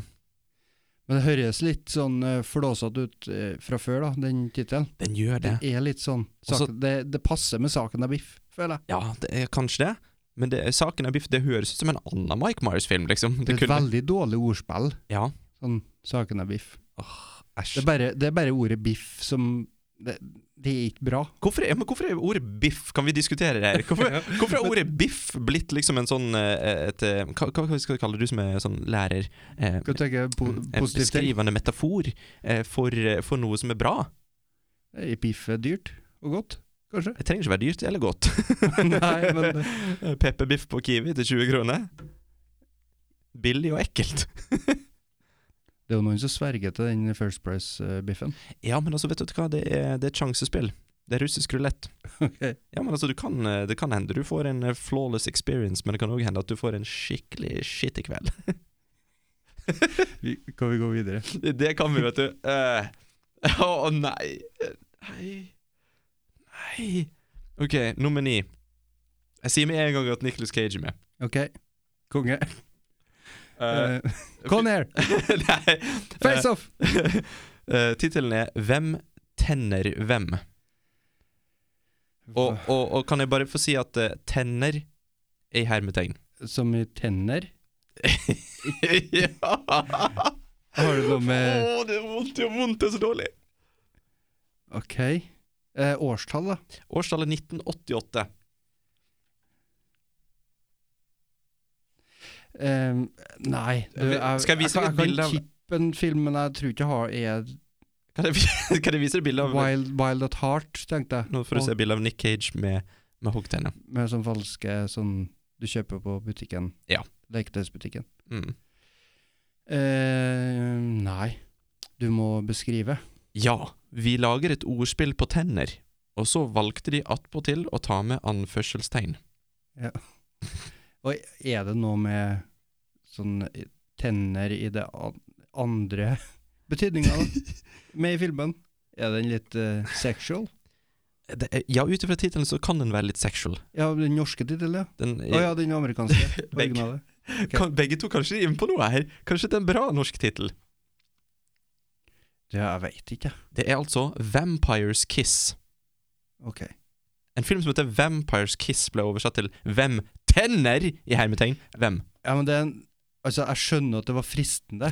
Speaker 11: Men det høres litt sånn uh, flåsete ut eh, fra før, da, den tittelen.
Speaker 10: Den gjør det.
Speaker 11: Det er litt sånn
Speaker 10: Også-
Speaker 11: saken, det, det passer med saken av biff, føler jeg.
Speaker 10: Ja, det er kanskje det. Men det, saken er biff. Det høres ut som en annen Mike Myers-film, liksom.
Speaker 11: Det er et veldig dårlig ordspill,
Speaker 10: Ja.
Speaker 11: sånn saken av biff. Det
Speaker 10: Æsj.
Speaker 11: er bare, det er bare ordet biff som det, det er ikke bra.
Speaker 10: Hvorfor, er- ja, men hvorfor er ordet biff Kan vi diskutere det her? *laughs* Hvorfor, hvorfor er ordet biff blitt liksom en sånn eh, et, eh, Hva, hva skal vi kalle det, du som er sånn lærer? Eh,
Speaker 11: Skal du tenke po
Speaker 10: en
Speaker 11: positivt til?
Speaker 10: beskrivende metafor eh, for, eh, for noe som er bra.
Speaker 11: Er biff er dyrt og godt, kanskje?
Speaker 10: Det trenger ikke være dyrt eller *laughs* godt.
Speaker 11: Nei, men det-
Speaker 10: eh. *laughs* Pepperbiff på Kiwi til 20 kroner. Billig og ekkelt.
Speaker 11: Det er jo noen som sverger til den First
Speaker 10: *laughs*
Speaker 11: Price-biffen.
Speaker 10: Ja, men altså, vet du hva, det er, det er et sjansespill. Det er russisk rulett.
Speaker 11: Ok.
Speaker 10: Ja, men altså, du kan, eh, det kan hende du får en eh, flawless experience, men det kan òg hende at du får en skikkelig skittig kveld. *laughs*
Speaker 11: Vi, kan vi gå videre?
Speaker 10: Det det kan vi, vet du. Eh, *laughs* Å nei. Nei. Nei. OK, nummer ni. Jeg sier med en gang at Nicholas Cage er med.
Speaker 11: OK. Konge.
Speaker 10: Eh,
Speaker 11: Uh, Conair,
Speaker 10: *laughs* nei.
Speaker 11: *laughs* face off!
Speaker 10: Eh, *laughs* Tittelen er 'Hvem tenner hvem?' eh, Og, og, og kan jeg bare få si at eh, 'tenner' er i hermetegn.
Speaker 11: Som i tenner?
Speaker 10: *laughs* ja!
Speaker 11: Har du noe
Speaker 10: Å,
Speaker 11: med
Speaker 10: det er vondt, det er vondt, det er så dårlig.
Speaker 11: OK. Eh, årstall, da?
Speaker 10: Årstallet 1988.
Speaker 11: Ehm, nei. Du, jeg,
Speaker 10: Skal jeg vise deg et
Speaker 11: jeg, jeg
Speaker 10: bilde av-
Speaker 11: kan tippe en film, men jeg tror ikke jeg har er
Speaker 10: Kan jeg, vi- *laughs* kan jeg vise deg bilde av
Speaker 11: Wild, Wild at Heart, tenkte jeg.
Speaker 10: Nå får du se bilde av Nick Cage med, med hoggtenner.
Speaker 11: Med sånn falske sånn du kjøper på butikken.
Speaker 10: Ja.
Speaker 11: Leketøysbutikken.
Speaker 10: Mm.
Speaker 11: Eh, nei. Du må beskrive.
Speaker 10: Ja, vi lager et ordspill på tenner, og så valgte de attpåtil å ta med anførselstegn.
Speaker 11: *laughs* Og er det noe med sånn tenner i det an- andre *laughs* betydninga med i filmen? Er den litt eh, sexual?
Speaker 10: Det er, ja, ut ifra tittelen så kan den være litt sexual.
Speaker 11: Ja, den norske tittelen, ja.
Speaker 10: Den,
Speaker 11: Å ja, den amerikanske.
Speaker 10: *laughs* Begge.
Speaker 11: Originale.
Speaker 10: kan, begge to kanskje er inne på noe her. Kanskje det er en bra norsk tittel.
Speaker 11: Ja, jeg veit ikke.
Speaker 10: Det er altså Vampire's Kiss.
Speaker 11: Ok.
Speaker 10: En film som heter Vampire's Kiss ble oversatt til Hvem tenner? i hermetegn. Hvem?
Speaker 11: Ja, men det er en Altså, jeg skjønner at det var fristende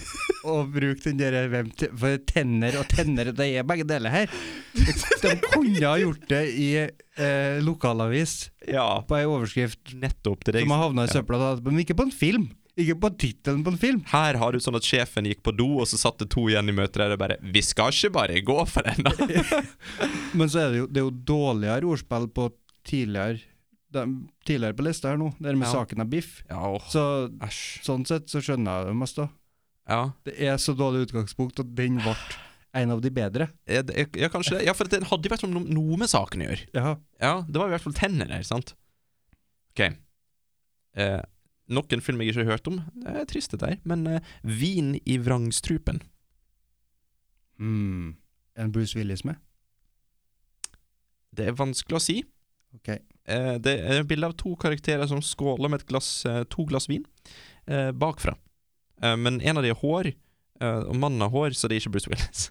Speaker 11: *laughs* å bruke den der eh, hvem te- For tenner og tenner, det er begge deler her. De kunne ha gjort det i eh, lokalavis
Speaker 10: *laughs* Ja,
Speaker 11: på ei overskrift
Speaker 10: nettopp. Det er det jeg
Speaker 11: som har havna i søpla, da, men ikke på en film. Ikke på tittelen på en film.
Speaker 10: Her har du sånn at sjefen gikk på do, og så satt det to igjen i møter der og bare 'Vi skal ikke bare gå for den', da.
Speaker 11: Men så er det jo, det er jo dårligere ordspill på tidligere de, Tidligere på lista her nå, det er med
Speaker 10: Ja.
Speaker 11: saken av biff.
Speaker 10: *laughs* ja, åh,
Speaker 11: Så
Speaker 10: æsj.
Speaker 11: sånn sett så skjønner jeg det mest, da.
Speaker 10: Ja.
Speaker 11: Det er så dårlig utgangspunkt at den ble en av de bedre.
Speaker 10: Ja, det- ja, kanskje det. Ja, for den hadde i hvert fall no- noe med saken å gjøre.
Speaker 11: Ja.
Speaker 10: Ja, Det var i hvert fall tenner der, sant? OK. Eh, nok en film jeg ikke har hørt om. Det er trist, dette her. Men eh, 'Vin i vrangstrupen'. Hmm.
Speaker 11: Mm. En Bruce Willis med?
Speaker 10: Det er vanskelig å si.
Speaker 11: Ok.
Speaker 10: Eh, det er et bilde av to karakterer som skåler med et glass, eh, to glass vin eh, bakfra. Eh, men en av de har hår, eh, og mannen har hår, så det er ikke Bruce
Speaker 11: *laughs*
Speaker 10: Willis.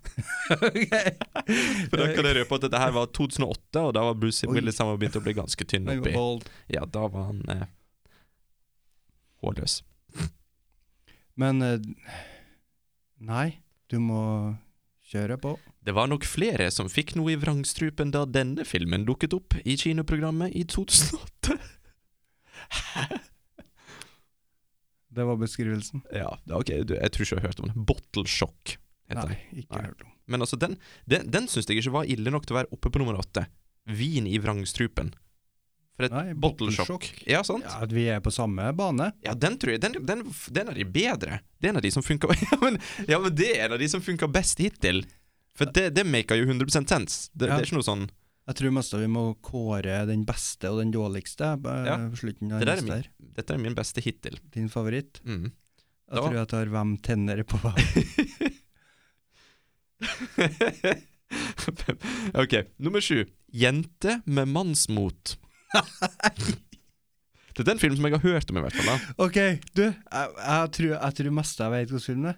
Speaker 10: For da kan jeg røpe at dette her var 2008, og da var Bruce
Speaker 11: Oi.
Speaker 10: Willis han var begynt å bli ganske tynn
Speaker 11: Han var
Speaker 10: oppi.
Speaker 11: bald.
Speaker 10: Ja, da var han eh, hårløs.
Speaker 11: Men eh, Nei, du må kjøre på.
Speaker 10: Det var nok flere som fikk noe i vrangstrupen da denne filmen dukket opp i kinoprogrammet i 2008.
Speaker 11: Det var beskrivelsen.
Speaker 10: Ja, da, ok, du, jeg tror ikke jeg har hørt om den. Bottle Shock heter den.
Speaker 11: Nei, ikke
Speaker 10: Nei.
Speaker 11: hørt om.
Speaker 10: Men altså, den, den, den syns jeg ikke var ille nok til å være oppe på nummer åtte. Vin i vrangstrupen. For et
Speaker 11: Nei,
Speaker 10: bottle shock.
Speaker 11: Shock.
Speaker 10: Ja, sant?
Speaker 11: Ja, at vi er på samme bane.
Speaker 10: Ja, den tror jeg Den, den, den er de bedre. Det er en av de som funker *laughs* ja, men, ja, men det er en av de som funker best hittil. For det, det maker jo 100 sense. Det,
Speaker 11: Ja.
Speaker 10: det er ikke noe sånn
Speaker 11: Jeg tror mest vi må kåre den beste og den dårligste eh,
Speaker 10: Ja.
Speaker 11: på slutten. av
Speaker 10: Det der er
Speaker 11: lista her.
Speaker 10: Dette er min beste hittil.
Speaker 11: Din favoritt.
Speaker 10: Mm.
Speaker 11: Jeg
Speaker 10: Da-
Speaker 11: tror jeg tar Hvem tenner på hva.
Speaker 10: *laughs* ok, nummer sju. Jente med mannsmot. Dette er en film som jeg har hørt om, i hvert fall. da
Speaker 11: OK, du, jeg, jeg, tror, jeg tror mest jeg vet hvilken film det er.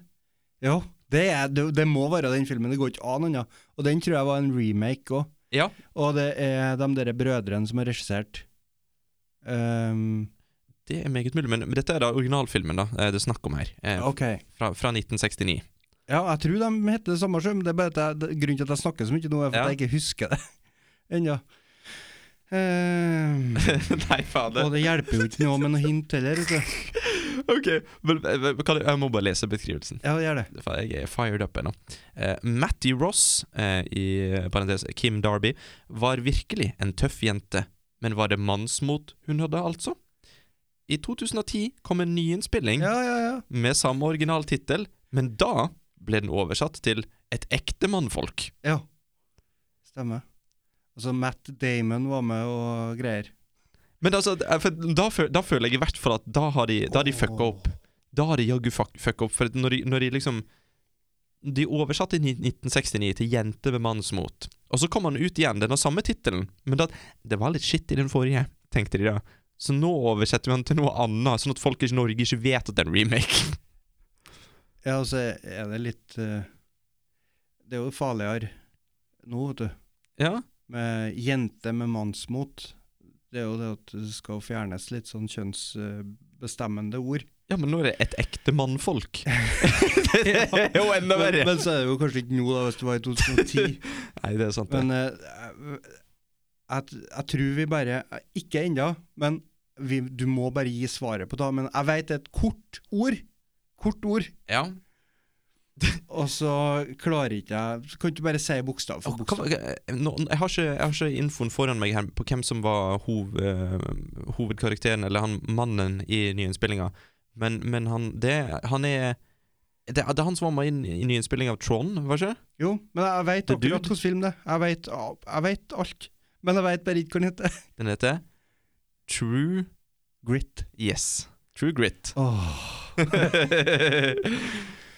Speaker 11: Jo, det, er, det, det må være den filmen. Det går ikke an annet. Og den tror jeg var en remake òg.
Speaker 10: Ja,
Speaker 11: Og det er de der brødrene som har regissert. Ehm,
Speaker 10: det er meget mulig, men, men dette er da originalfilmen da eh, det er snakk om her. Eh,
Speaker 11: ok.
Speaker 10: fra, fra 1969.
Speaker 11: Ja, jeg tror de heter det samme, sjøl, men det er bare at jeg, det- grunnen til at jeg snakker så mye nå, er for
Speaker 10: Ja.
Speaker 11: at jeg ikke husker det *laughs* ennå. Ehm,
Speaker 10: Nei, fader.
Speaker 11: og det hjelper jo ikke noe med noe hint heller. vet du.
Speaker 10: Ok, men, eh, kan jeg, jeg må bare lese beskrivelsen.
Speaker 11: Ja, det gjør det.
Speaker 10: For jeg er fired up ennå. Eh, Matty Ross, eh, i parentes Kim Darby, var virkelig en tøff jente. Men var det mannsmot hun hadde, altså? I 2010 kom en nyinnspilling
Speaker 11: Ja, ja, ja.
Speaker 10: med samme original tittel, men da ble den oversatt til Et ekte mannfolk.
Speaker 11: Ja. Stemmer. Altså Matt Damon var med og greier.
Speaker 10: Men altså, eh, for da, føl- da føler jeg i hvert fall at da har de, da har de fucka opp. Da har de jaggu fuck- fucka opp, for at når de, når de liksom De oversatte i ni- 1969 til 'Jente med mannsmot', og så kom han ut igjen, den har samme tittelen, men da, det var litt skitt i den forrige, tenkte de da. Så nå oversetter vi den til noe annet, sånn at folk i Norge ikke vet at det er en remake.
Speaker 11: *laughs* Ja, altså er det litt eh, Det er jo farligere nå, vet du.
Speaker 10: Ja,
Speaker 11: Med jenter med mannsmot. Det er jo det at det skal fjernes litt sånn kjønnsbestemmende ord.
Speaker 10: ja men nå er det et ekte
Speaker 11: *laughs*
Speaker 10: mannfolk. *laughs* det er jo
Speaker 11: Men,
Speaker 10: enda verre.
Speaker 11: men så er det jo kanskje ikke nå, da, hvis det var i 2010.
Speaker 10: *laughs* Nei, det er sant. det.
Speaker 11: Men eh, jeg, jeg tror vi bare Ikke ennå, men vi, du må bare gi svaret på det. Men jeg veit et kort ord. Kort ord.
Speaker 10: Ja.
Speaker 11: Og så klarer ikke jeg så Kan ikke du bare si bokstav for
Speaker 10: Åh,
Speaker 11: bokstav?
Speaker 10: hva- eh, nå, jeg, har ikke, jeg har ikke infoen foran meg her på hvem som var hov, eh, hovedkarakteren, eller han mannen i nyinnspillinga, men, men han, det, han er det, er- det er han som var med inn i nyinnspillinga av Trond, var det ikke?
Speaker 11: Jo, men jeg veit
Speaker 10: The
Speaker 11: akkurat
Speaker 10: Dude?
Speaker 11: hvilken film det er. Jeg vet- Jeg veit alt. Men jeg veit bare ikke hva den heter.
Speaker 10: Den heter True
Speaker 11: Grit.
Speaker 10: Yes. True *laughs* Grit.
Speaker 11: Åh.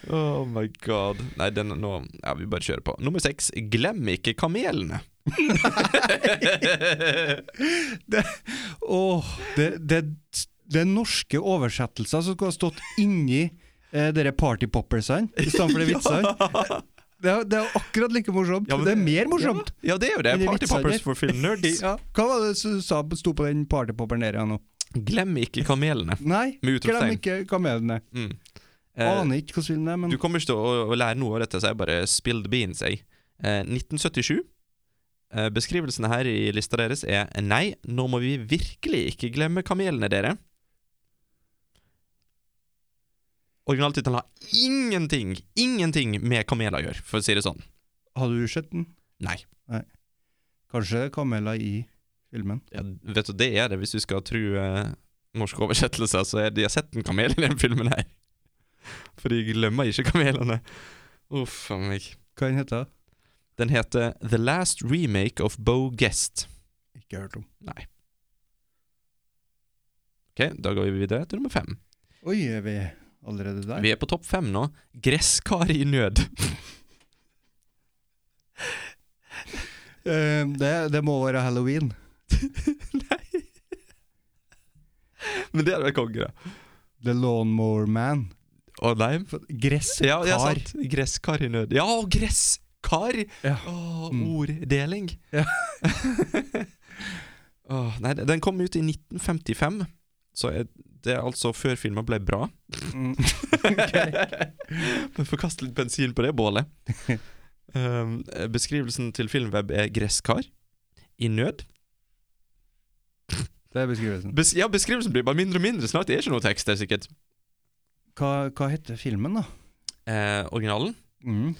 Speaker 10: oh my god. Nei, den nå Ja, vi bare kjører på. Nummer seks, glem ikke *laughs* kamelene.
Speaker 11: Åh, det, det, det er norske oversettelser som skulle ha stått inni eh, dere Party Poppers-ene *laughs* istedenfor de vitsene.
Speaker 10: *laughs*
Speaker 11: Det er, det er akkurat like morsomt.
Speaker 10: Ja, men
Speaker 11: det er mer morsomt.
Speaker 10: Ja, det er jo det.
Speaker 11: Men det er
Speaker 10: Party
Speaker 11: vitser
Speaker 10: Poppers
Speaker 11: der.
Speaker 10: for film nerds.
Speaker 11: Ja. Hva var det som sa- sto på den partypopperen der igjen nå?
Speaker 10: Glem ikke kamelene.
Speaker 11: Nei,
Speaker 10: Med
Speaker 11: glem
Speaker 10: utropstegn.
Speaker 11: ikke kamelene.
Speaker 10: Mm. Eh,
Speaker 11: Aner ikke hvordan filmen er, men
Speaker 10: du kommer ikke til å, å lære noe av dette, så jeg bare spilled beans, jeg. Eh, 1977. Eh, beskrivelsen her i lista deres er Nei, nå må vi virkelig ikke glemme kamelene, dere. Originaltittelen har ingenting, ingenting med kameler å gjøre, for å si det sånn.
Speaker 11: hadde du sett den?
Speaker 10: Nei.
Speaker 11: Kanskje det er kameler i filmen.
Speaker 10: Ja, vet du, det er det, hvis du skal tro eh, norske oversettelser, så er det, jeg har sett en kamel i den filmen her. For de glemmer ikke kamelene. Uff a meg.
Speaker 11: Hva den heter den?
Speaker 10: Den heter The Last Remake of Bo Guest.
Speaker 11: Ikke hørt om.
Speaker 10: Nei. Ok, da går vi videre til nummer fem.
Speaker 11: Oi, er vi allerede der?
Speaker 10: Vi er på topp fem nå. Gresskar i nød. *laughs*
Speaker 11: Eh, det, det må være halloween.
Speaker 10: Men det hadde vært konge, da.
Speaker 11: The Lawnmower Man.
Speaker 10: Å nei.
Speaker 11: Gresskar.
Speaker 10: Ja, ja, sant. Gresskar i nød. Ja, gresskar!
Speaker 11: Ja.
Speaker 10: Åh,
Speaker 11: Mm.
Speaker 10: orddeling.
Speaker 11: Ja.
Speaker 10: *laughs* Åh, nei, den kom ut i 1955, så er det er altså før filmen ble bra.
Speaker 11: *laughs* Mm.
Speaker 10: *laughs* Vi får kaste litt bensin på det
Speaker 11: *laughs*
Speaker 10: bålet. Um, beskrivelsen til Filmweb er 'gresskar i nød'.
Speaker 11: Det er beskrivelsen.
Speaker 10: Bes ja, Beskrivelsen blir bare mindre og mindre snart. Det er ikke noe tekst der, sikkert.
Speaker 11: Hva, hva heter filmen, da?
Speaker 10: Eh, originalen
Speaker 11: Mm.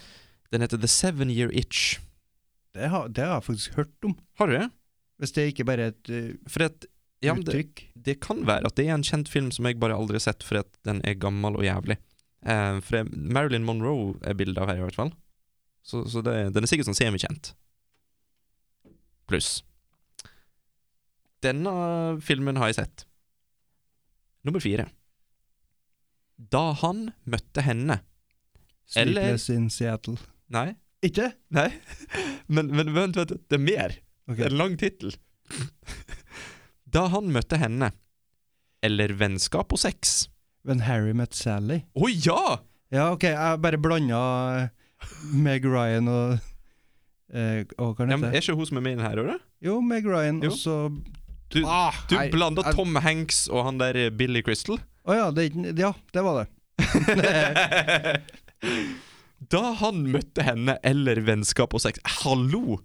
Speaker 10: den heter 'The Seven Year Itch'.
Speaker 11: Det, har, det har jeg faktisk hørt om.
Speaker 10: Har du det?
Speaker 11: Hvis det ikke bare er et eh,
Speaker 10: For at, ja, men det,
Speaker 11: uttrykk.
Speaker 10: det kan være at det er en kjent film som jeg bare aldri har sett, fordi at den er gammel og jævlig. Eh, for det, Marilyn Monroe er bildet av her, i hvert fall. Så, så det, den er sikkert sånn semikjent. Pluss. Denne filmen har jeg sett. Nummer fire. Da han møtte henne Eller-
Speaker 11: Sleepless in Seattle.
Speaker 10: Nei.
Speaker 11: Ikke?
Speaker 10: Nei. *laughs* Men, men vent, vent, det er mer.
Speaker 11: Ok.
Speaker 10: Det er en lang tittel. da han møtte henne Eller vennskap og sex.
Speaker 11: When Harry Met Sally.
Speaker 10: Å ja!
Speaker 11: Ja, ok, jeg bare blanda eh, Meg Ryan og eh, Å, hva
Speaker 10: ja
Speaker 11: heter
Speaker 10: men,
Speaker 11: det?
Speaker 10: er ikke hun som er med i den her, er det?
Speaker 11: Jo, Meg Ryan,
Speaker 10: Jo.
Speaker 11: og så
Speaker 10: Du,
Speaker 11: Ah,
Speaker 10: du
Speaker 11: nei,
Speaker 10: blanda
Speaker 11: jeg-
Speaker 10: Tom Hanks og han der eh, Billy
Speaker 11: *laughs*
Speaker 10: Crystal.
Speaker 11: Å ja, det, er ikke- ja, det var det.
Speaker 10: da han møtte henne eller vennskap og sex Hallo!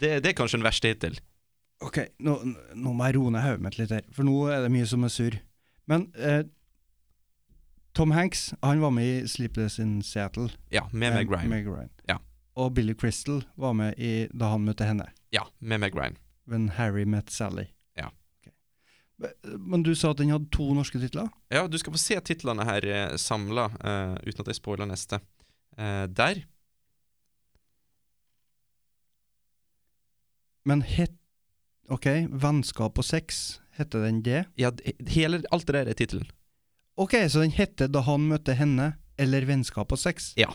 Speaker 10: Det, det er kanskje den verste hittil.
Speaker 11: Ok, nå, nå må jeg roe ned hodet mitt litt her, for nå er det mye som er surr. Men eh, Tom Hanks han var med i 'Sleepless in Seattle'.
Speaker 10: Ja, med Meg
Speaker 11: Eh,
Speaker 10: Ryan.
Speaker 11: Meg Ryan.
Speaker 10: Ja.
Speaker 11: Og Billy Crystal var med i 'Da han møtte henne'.
Speaker 10: Ja, med Meg Ryan.
Speaker 11: When Harry Met Sally.
Speaker 10: Ja.
Speaker 11: Ok. Men du sa at den hadde to norske titler?
Speaker 10: Ja, du skal få se titlene her eh, samla, eh, uten at jeg spoiler neste. Eh, der.
Speaker 11: Men het OK, 'Vennskap og sex', heter den det?
Speaker 10: Ja, d- hele, alt det der er tittelen.
Speaker 11: OK, så den heter 'Da han møtte henne', eller 'Vennskap og sex'?
Speaker 10: Ja.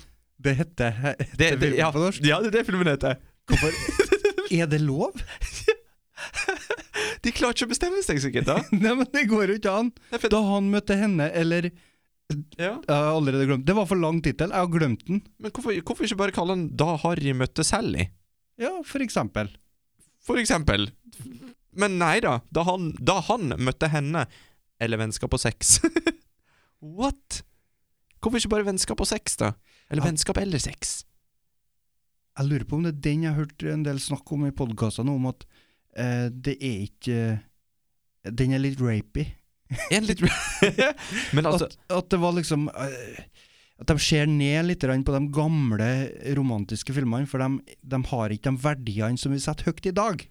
Speaker 11: Det heter he- heter
Speaker 10: Det, det,
Speaker 11: filmen
Speaker 10: ja,
Speaker 11: på norsk?
Speaker 10: ja, det er det filmen heter.
Speaker 11: Er det lov?
Speaker 10: *laughs*
Speaker 11: *laughs*
Speaker 10: De klarer ikke å bestemme seg, sikkert. da
Speaker 11: Nei, men det går jo ikke an!
Speaker 10: Nei, for-
Speaker 11: Da han møtte henne, eller Jeg
Speaker 10: ja.
Speaker 11: har allerede glemt Det var for lang tittel, jeg har glemt den.
Speaker 10: Men hvorfor, hvorfor ikke bare kalle den 'Da Harry møtte Sally'?
Speaker 11: Ja, for eksempel.
Speaker 10: For eksempel. Men nei da. Da han, da han møtte henne Eller vennskap og sex. *laughs* What? Hvorfor ikke bare vennskap og sex, da? Eller
Speaker 11: Ja.
Speaker 10: vennskap eller sex?
Speaker 11: Jeg lurer på om det er den jeg har hørt en del snakk om i podkastene, om at eh, det er ikke eh, Den er litt rapey.
Speaker 10: En
Speaker 11: *laughs*
Speaker 10: litt Men altså
Speaker 11: at, at det var liksom eh, At de ser ned litt grann på de gamle romantiske filmene, for de, de har ikke de verdiene som vi setter høyt i dag.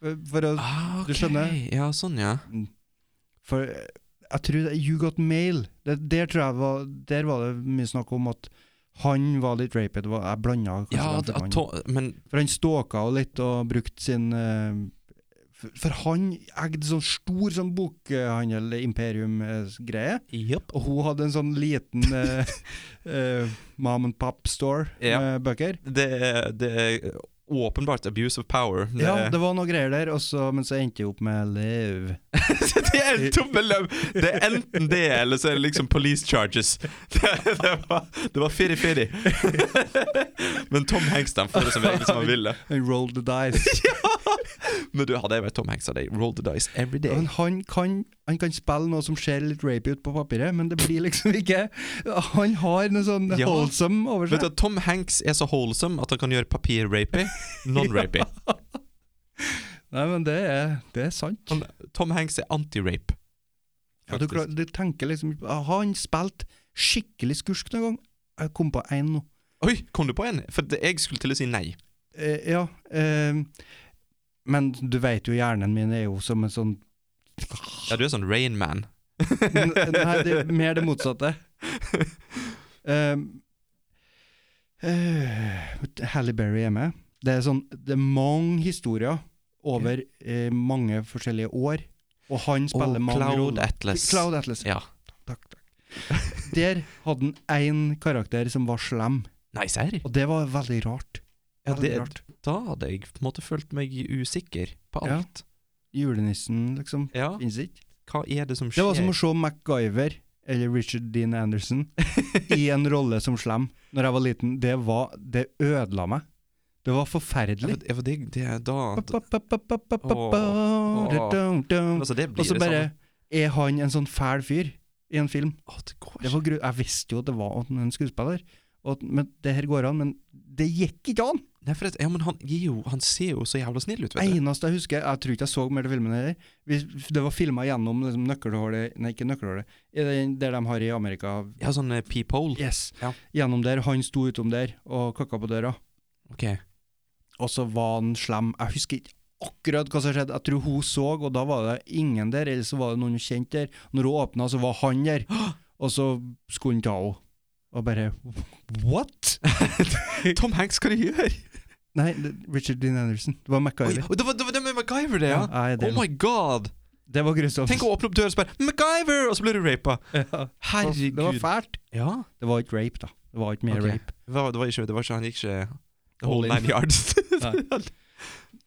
Speaker 11: For, for, å-
Speaker 10: ah, ok.
Speaker 11: du skjønner?
Speaker 10: Ja, sånn, ja.
Speaker 11: for eh, jeg tror det- You Got Mail det, Der tror jeg var, der var det mye snakk om at han var litt rapey. Det var- Jeg blanda kanskje
Speaker 10: ja
Speaker 11: de
Speaker 10: at,
Speaker 11: filmene.
Speaker 10: at, to- men
Speaker 11: For han stalka jo litt og brukte sin eh, for, for han eide sånn stor sånn eh, bokhandel-imperium-greie,
Speaker 10: Jepp.
Speaker 11: og hun hadde en sånn liten eh, *laughs* eh, mom and pop-store
Speaker 10: Ja.
Speaker 11: med bøker.
Speaker 10: Det, er- det er åpenbart abuse of power. Det,
Speaker 11: Ja, det var noe greier der, og så, men så endte jeg opp med Liv.
Speaker 10: *laughs* det er en tommel opp! Det er enten det, eller så er det liksom police charges. *laughs* Det, det var, det var firi-firi. *laughs* Men Tom Hanks den får det som regel som han vil. da.
Speaker 11: And roll the
Speaker 10: *laughs*
Speaker 11: dice.
Speaker 10: Men du, hadde jeg vært Tom Hanks, hadde jeg rolled the dice every day.
Speaker 11: Men han kan, han kan spille noe som ser litt rapey ut på papiret, men det blir liksom ikke Han har noe sånn
Speaker 10: Ja.
Speaker 11: wholesome over
Speaker 10: Vet du,
Speaker 11: seg.
Speaker 10: at Tom Hanks er så wholesome at han kan gjøre
Speaker 11: *laughs*
Speaker 10: papir-rapey non-rapey.
Speaker 11: Nei, men det er, det er sant.
Speaker 10: Han- Tom Hanks er anti-rape.
Speaker 11: Ja, du, klar,
Speaker 10: faktisk.
Speaker 11: du tenker liksom ikke på- Har han spilt skikkelig skurk noen gang? Jeg kom på én nå.
Speaker 10: Oi, kom du på en? For det- jeg skulle til å si nei.
Speaker 11: Eh, ja. Eh, men du vet jo hjernen min er jo som en sånn
Speaker 10: Ja, du er sånn Rain Man.
Speaker 11: N- eh, Nei, det er mer det motsatte. Eh, eh, Halle Berry er med. Det er sånn Det er mange historier over eh, mange forskjellige år, og han spiller
Speaker 10: Og
Speaker 11: mange
Speaker 10: Cloud
Speaker 11: roller.
Speaker 10: Atlas.
Speaker 11: Cloud Atlas.
Speaker 10: Ja.
Speaker 11: Takk, takk.
Speaker 10: *laughs*
Speaker 11: Der hadde han én karakter som var slem.
Speaker 10: Nei, serr?
Speaker 11: Og det var veldig rart.
Speaker 10: Ja,
Speaker 11: Veldig
Speaker 10: det-
Speaker 11: rart.
Speaker 10: Da hadde jeg på en måte følt meg usikker på
Speaker 11: Ja.
Speaker 10: alt.
Speaker 11: Julenissen, liksom.
Speaker 10: Ja.
Speaker 11: Finnes ikke.
Speaker 10: Hva er det som skjer?
Speaker 11: Det var som å se MacGyver, eller Richard Dean Anderson,
Speaker 10: *laughs*
Speaker 11: i en rolle som slem når jeg var liten. Det var Det ødela meg. Det var forferdelig.
Speaker 10: Ja, for det, det er da
Speaker 11: Pa, pa, pa, pa, pa, pa,
Speaker 10: Åh,
Speaker 11: pa,
Speaker 10: åh.
Speaker 11: dum, dum.
Speaker 10: Altså, det
Speaker 11: Og
Speaker 10: blir
Speaker 11: så
Speaker 10: det
Speaker 11: bare
Speaker 10: samme.
Speaker 11: er han en sånn fæl fyr i en film.
Speaker 10: Å, det går
Speaker 11: Det
Speaker 10: ikke.
Speaker 11: var gru jeg visste jo at det var at han er en skuespiller, og at men det her går an, men det gikk ikke an!
Speaker 10: Nei, for at, ja, men han, gir jo, han ser jo så jævla snill ut, vet du.
Speaker 11: eneste jeg husker Jeg tror ikke jeg så mer til filmen heller. Vi- Det var filma gjennom liksom, nøkkelhullet Nei, ikke nøkkelhullet. i den- Der de har i Amerika.
Speaker 10: Ja, sånn eh, peephole.
Speaker 11: Yes.
Speaker 10: Ja.
Speaker 11: Gjennom der. Han sto utom der og kakka på døra.
Speaker 10: Ok.
Speaker 11: Og så var han slem. Jeg husker ikke akkurat hva som skjedde. Jeg tror hun så, og da var det ingen der, eller så var det noen hun kjente der. Når hun åpna, så var han
Speaker 10: *gasps*
Speaker 11: der. Og så skulle han ta henne. Og bare What?!
Speaker 10: *laughs* Tom Hanks, hva er det du gjør?
Speaker 11: Nei, det- Richard Dean Anderson. Det var
Speaker 10: Oi,
Speaker 11: MacGyver.
Speaker 10: oi, det var det var det med MacGyver, det, ja?
Speaker 11: Ja, jeg er
Speaker 10: oh
Speaker 11: den.
Speaker 10: my god!
Speaker 11: Det var grusomt.
Speaker 10: Tenk å åpne opp døra og spørre 'MacGyver!', og så blir du rapa.
Speaker 11: *laughs* Ja.
Speaker 10: Herregud.
Speaker 11: Det var fælt.
Speaker 10: Ja.
Speaker 11: Det var ikke rape, da. Det var ikke mer
Speaker 10: Ok.
Speaker 11: rape.
Speaker 10: Det var, det var ikke, det var ikke, han gikk ikke the
Speaker 11: All
Speaker 10: whole
Speaker 11: in.
Speaker 10: nine
Speaker 11: *laughs*
Speaker 10: yards.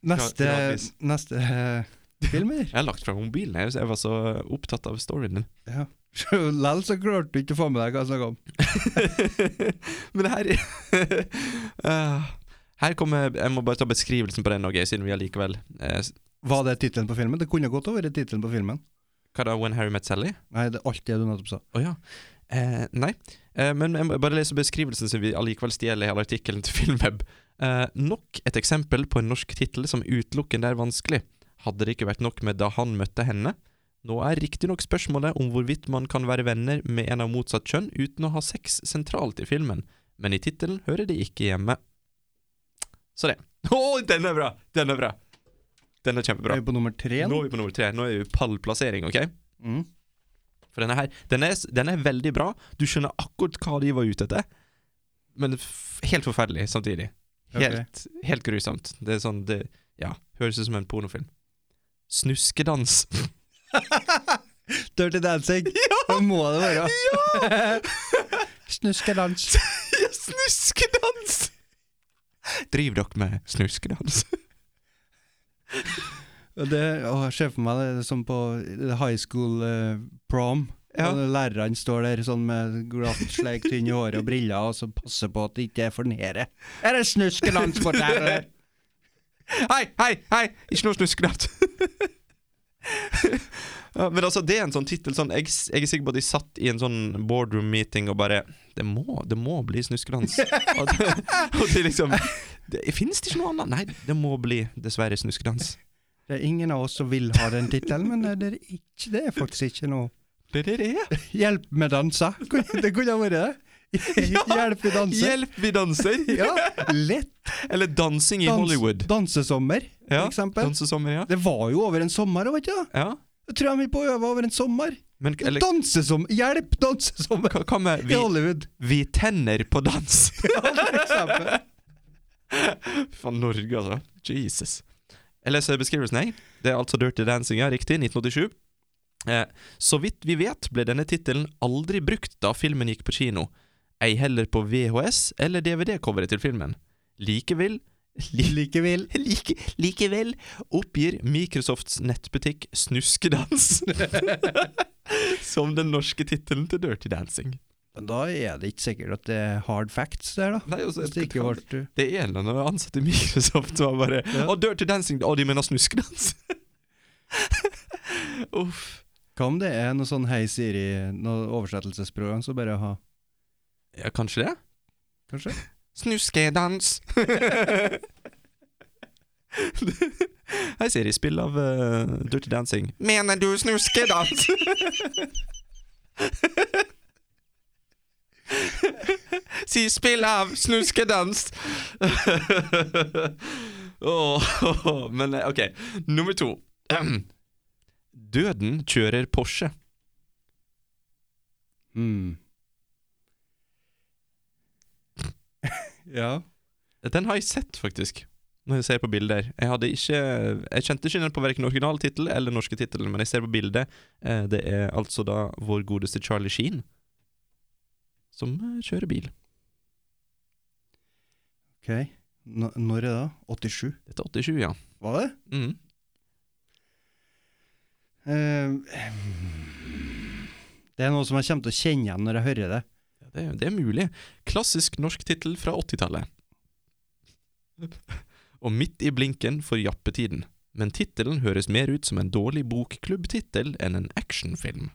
Speaker 11: Neste,
Speaker 10: Gradvis.
Speaker 11: neste eh, film,
Speaker 10: *laughs*
Speaker 11: eller?
Speaker 10: Jeg har lagt fra mobilen, jeg, så jeg var så opptatt av storyen din.
Speaker 11: Ja. Lell så klarte du ikke å få med deg hva jeg snakka om.
Speaker 10: *laughs* Men her *laughs* Eh, Her kommer Jeg må bare ta beskrivelsen på den òg, siden vi allikevel eh, s-
Speaker 11: Var det tittelen på filmen? Det kunne godt ha vært tittelen på filmen.
Speaker 10: Hva da, When Harry Met Sally?
Speaker 11: Nei, det er alt det du nettopp sa.
Speaker 10: Å ja. Eh, nei. Eh, men jeg må bare lese beskrivelsen, siden vi allikevel stjeler hele artikkelen til *laughs* Filmweb. Eh, nok et eksempel på en norsk tittel som utelukkende er vanskelig. Hadde det ikke vært nok med Da han møtte henne? Nå er riktignok spørsmålet om hvorvidt man kan være venner med en av motsatt kjønn uten å ha sex sentralt i filmen, men i tittelen *laughs* hører det ikke hjemme. Så det. Å, den er bra! Den er bra! Den er kjempebra.
Speaker 11: Er vi på nummer tre?
Speaker 10: Nå er vi på nummer tre. Nå er vi pallplassering, OK?
Speaker 11: Mm.
Speaker 10: For denne her, den er, den er veldig bra. Du skjønner akkurat hva de var ute etter, men f helt forferdelig samtidig. Helt, helt grusomt. Det er sånn det, Ja, høres ut som en pornofilm. Snuskedans.
Speaker 11: *laughs* Dirty
Speaker 10: *laughs*
Speaker 11: Dancing. Ja! Det må det være. *laughs* Ja! Snuskedans. *laughs*
Speaker 10: Ja, *laughs* snuskedans! Driver dere med snuskedans? *laughs*
Speaker 11: Det, å, jeg ser for meg det, som på high school eh, prom.
Speaker 10: Ja.
Speaker 11: Og Læreren står der sånn med glatt, sleikt tynn i håret og briller og så passer på at det ikke er for nede. Er det snuskedans på der? eller?
Speaker 10: *laughs* Hei, hei, hei! Ikke noe snuskedans. *laughs* ja, men altså, det er en sånn tittel sånn, jeg, s- jeg er sikker på at de satt i en sånn boardroom meeting og bare Det må, det må bli snuskedans. og, det, og de liksom det, Finnes det ikke noe annet? Nei, det må bli dessverre snuskedans.
Speaker 11: *laughs* Det er ingen av oss som vil ha den tittelen, men det er, ikke, det er faktisk ikke noe.
Speaker 10: Det er det det *laughs* er.
Speaker 11: Hjelp med dansa. Kunne- *laughs* Det kunne ha vært det. *laughs* Hjelp i danse.
Speaker 10: Hjelp, vi danser!
Speaker 11: *laughs* Ja, lett.
Speaker 10: Eller dansing i
Speaker 11: Dans-
Speaker 10: Hollywood.
Speaker 11: Dansesommer,
Speaker 10: Ja,
Speaker 11: for eksempel.
Speaker 10: Dansesommer, ja.
Speaker 11: Det var jo over en sommer, vet du.
Speaker 10: ja.
Speaker 11: Jeg tror jeg var på å øve over en sommer.
Speaker 10: Men eller,
Speaker 11: Dansesommer! Hjelp, dansesommer!
Speaker 10: hva hva med
Speaker 11: I
Speaker 10: vi,
Speaker 11: Hollywood. *laughs*
Speaker 10: vi tenner på dans? *laughs*
Speaker 11: Ja, for eksempel.
Speaker 10: Faen, Norge, altså. Jesus. Jeg leser beskrivelsen, jeg. Det er altså Dirty Dancing, ja. Riktig. 1987. Eh, så vidt vi vet, ble denne tittelen aldri brukt da filmen gikk på kino. Ei heller på VHS eller DVD-coveret til filmen. Likevel li,
Speaker 11: Likevel.
Speaker 10: *laughs* like, Likevel oppgir Microsofts nettbutikk Snuskedans *laughs* som den norske tittelen til Dirty Dancing.
Speaker 11: Men da er det ikke sikkert at det er hard facts der, da.
Speaker 10: Nei, altså,
Speaker 11: Hvis det ikke ble
Speaker 10: Det er en eller annen ansatt i Microsoft som bare
Speaker 11: Ja.
Speaker 10: Å, Dirty Dancing! Å, de mener snuskedans! Uff.
Speaker 11: Hva om det er noe sånn Hei Siri, noe oversettelsesprogram, så bare ha
Speaker 10: Ja, kanskje det? *laughs*
Speaker 11: Kanskje?
Speaker 10: Snuskedans! Hei, Siri. Spill av eh, Dirty Dancing. Mener du *laughs* snuskedans? si 'spill av snuskedans'! *laughs* Åh, men eh, OK, nummer to. *clears throat* Døden kjører Porsche. *laughs*
Speaker 11: mm. Ja.
Speaker 10: Den har jeg sett, faktisk. Når jeg ser på bilder. Jeg hadde ikke Jeg kjente ikke den på verken original tittel eller norske tittelen, men jeg ser på bildet. Eh, Det er altså da vår godeste Charlie Sheen som eh, kjører bil.
Speaker 11: Ok. Nå- når er det da? 87?
Speaker 10: Dette er 87, ja.
Speaker 11: Var det?
Speaker 10: Mm. Ehm.
Speaker 11: Eh, det er noe som jeg kommer til å kjenne igjen når jeg hører det.
Speaker 10: Ja, Det, er- det er mulig. Klassisk norsk tittel fra 80-tallet. *laughs* Og midt i blinken for jappetiden. Men tittelen høres mer ut som en dårlig bokklubbtittel enn en actionfilm.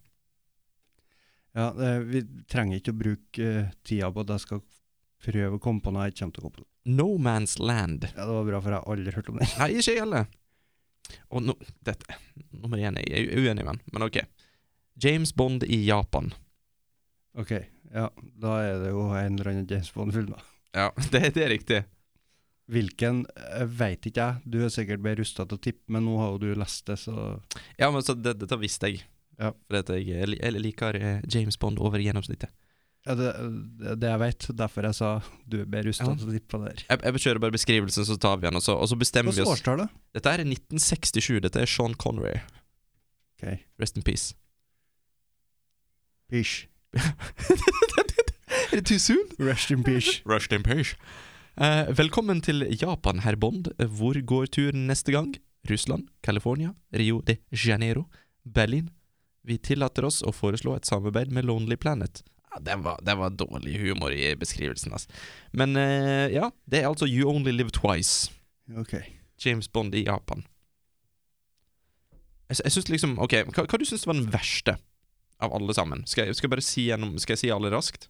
Speaker 11: Ja, eh, Vi trenger ikke å bruke eh, tida på at jeg skal prøve å komme på noe jeg ikke kommer til å komme på.
Speaker 10: No Man's Land.
Speaker 11: Ja, Det var bra, for jeg har aldri hørt om det.
Speaker 10: Nei, ikke jeg heller. Og nå dette, Nummer én er jeg er uenig med, den, men OK. James Bond i Japan.
Speaker 11: Ok, ja, da er det jo en eller annen James Bond-film, da.
Speaker 10: Ja, *laughs* det, det er riktig.
Speaker 11: Hvilken eh, veit ikke jeg, du er sikkert bedre rusta til å tippe, men nå har jo du lest det, så
Speaker 10: Ja, men så det, Dette visste jeg.
Speaker 11: Ja.
Speaker 10: For at jeg, jeg, li- jeg liker eh, James Bond over gjennomsnittet.
Speaker 11: ja, det, det jeg veit, derfor jeg sa du er bedre rusta
Speaker 10: Ja.
Speaker 11: til å tippe på det her.
Speaker 10: Jeg, jeg kjører bare beskrivelsen, så tar vi den, og så, og så bestemmer vi
Speaker 11: Hvilket
Speaker 10: oss.
Speaker 11: årstall, da?
Speaker 10: Dette er 1967. Dette er Sean Connery.
Speaker 11: Ok.
Speaker 10: Rest in peace.
Speaker 11: Pish.
Speaker 10: *laughs* Er det too soon?
Speaker 11: Rest in peace.
Speaker 10: Rushed in peace. Eh, velkommen til Japan, herr Bond. Hvor går turen neste gang? Russland, California, Rio de Janeiro, Berlin. Vi tillater oss å foreslå et samarbeid med Lonely Planet. Ja, den, var, den var dårlig humor i beskrivelsen, altså. Men eh, ja, det er altså You Only Live Twice.
Speaker 11: *laughs* Ok.
Speaker 10: James Bond i Japan. Jeg, sy- jeg syns liksom OK, hva, hva du syns var den verste av alle sammen? Skal jeg, skal jeg bare si gjennom Skal jeg si alle raskt?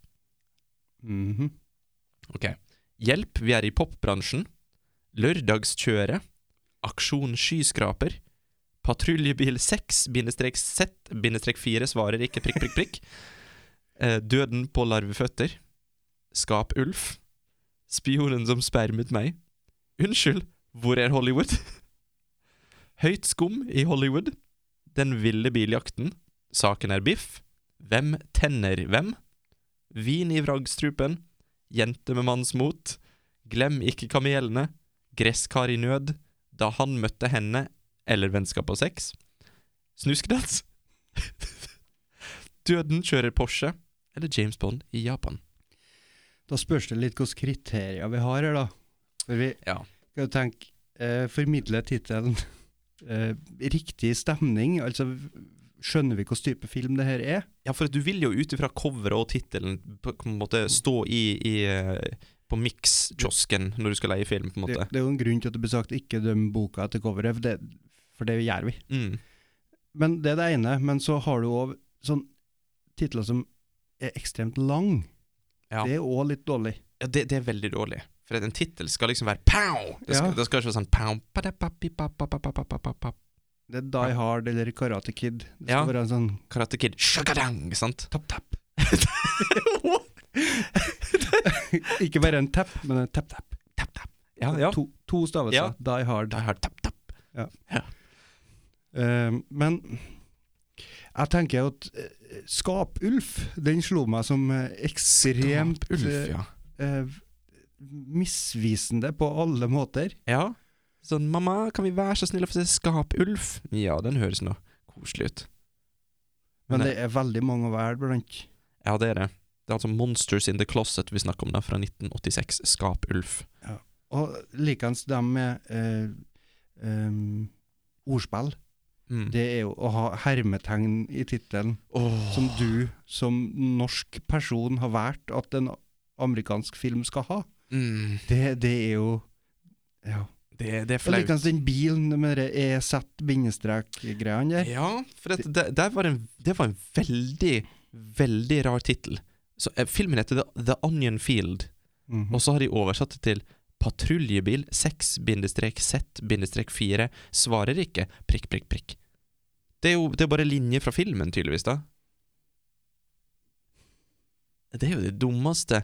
Speaker 11: Mhm.
Speaker 10: Hjelp, vi er i popbransjen. Lørdagskjøret. Aksjon skyskraper. Patruljebil 6-Z-4 svarer ikke prikk, prikk, *laughs* prikk. Eh, Døden på larveføtter. Skap Ulf. Spionen som spermet meg. Unnskyld, hvor er Hollywood? *laughs* Høyt skum i Hollywood. Den ville biljakten. Saken er biff. Hvem tenner hvem? Vin i vragstrupen. Jente med mannsmot. Glem ikke kamelene. Gresskar i nød. Da han møtte henne. Eller vennskap og sex. Snuskedans. Døden kjører Porsche. Eller James Bond i Japan.
Speaker 11: Da spørs det litt hvilke kriterier vi har her, da. For vi
Speaker 10: Ja.
Speaker 11: kan jo tenke eh, Formidle tittelen *laughs* eh, riktig stemning? Altså, skjønner vi hvilken type film det her er?
Speaker 10: Ja, for at du vil jo ut ifra coveret og tittelen på på en måte stå i, i eh, på Mix-kiosken når du skal leie film, på en
Speaker 11: Det,
Speaker 10: måte.
Speaker 11: det er jo en grunn til at det blir sagt 'ikke døm boka etter coveret', for det, for det gjør vi.
Speaker 10: Mm.
Speaker 11: Men det er det ene. Men så har du òg sånn titler som er ekstremt lang.
Speaker 10: Ja.
Speaker 11: Det er òg litt dårlig.
Speaker 10: Ja, det, det er veldig dårlig. For at en tittel skal liksom være pow! Det skal,
Speaker 11: Ja.
Speaker 10: det skal ikke være sånn pow padapapi, papapapapapapap.
Speaker 11: Det er Die Hard eller Karate Kid. Det skal
Speaker 10: Ja.
Speaker 11: være en sånn
Speaker 10: Karate Kid, shagadang, sant? Tapp, tapp.
Speaker 11: *laughs* Ikke bare en tap, men en tap-tap.
Speaker 10: tapp, tapp. Ja, ja.
Speaker 11: To, to stavelser.
Speaker 10: Ja.
Speaker 11: Die Hard.
Speaker 10: Da har jeg tapp, tapp.
Speaker 11: Eh, men jeg tenker jo at eh, Skapulf, den slo meg som eh, ekstremt
Speaker 10: Ulf, ja.
Speaker 11: eh, eh, misvisende på alle måter.
Speaker 10: Ja. Sånn, mamma, kan vi være så snill å få se Skap-Ulf? Ja, den høres nå koselig ut.
Speaker 11: Men
Speaker 10: Men
Speaker 11: det er veldig mange å være blant.
Speaker 10: Ja, det er det. Det er altså Monsters in the Closet vi snakker om da, fra 1986. Skap-Ulf.
Speaker 11: Og likeens dem med eh, em, ordspill.
Speaker 10: Mm.
Speaker 11: Det er jo å ha hermetegn i tittelen.
Speaker 10: Åh.
Speaker 11: som du som norsk person har valgt at en amerikansk film skal ha.
Speaker 10: Mm.
Speaker 11: Det, det er jo Ja.
Speaker 10: Det, det er
Speaker 11: Og
Speaker 10: flaut.
Speaker 11: likeens den bilen med det EZ-bindestrek-greiene der.
Speaker 10: Ja, for det, det, der var en, det var en veldig, veldig rar tittel. Så, eh, Filmen heter The, The Onion Field,
Speaker 11: Mhm.
Speaker 10: og så har de oversatt det til Patruljebil 6-Z-4 svarer ikke prikk, prikk, prikk. Det er jo det er bare linjer fra filmen, tydeligvis, da. Det er jo det dummeste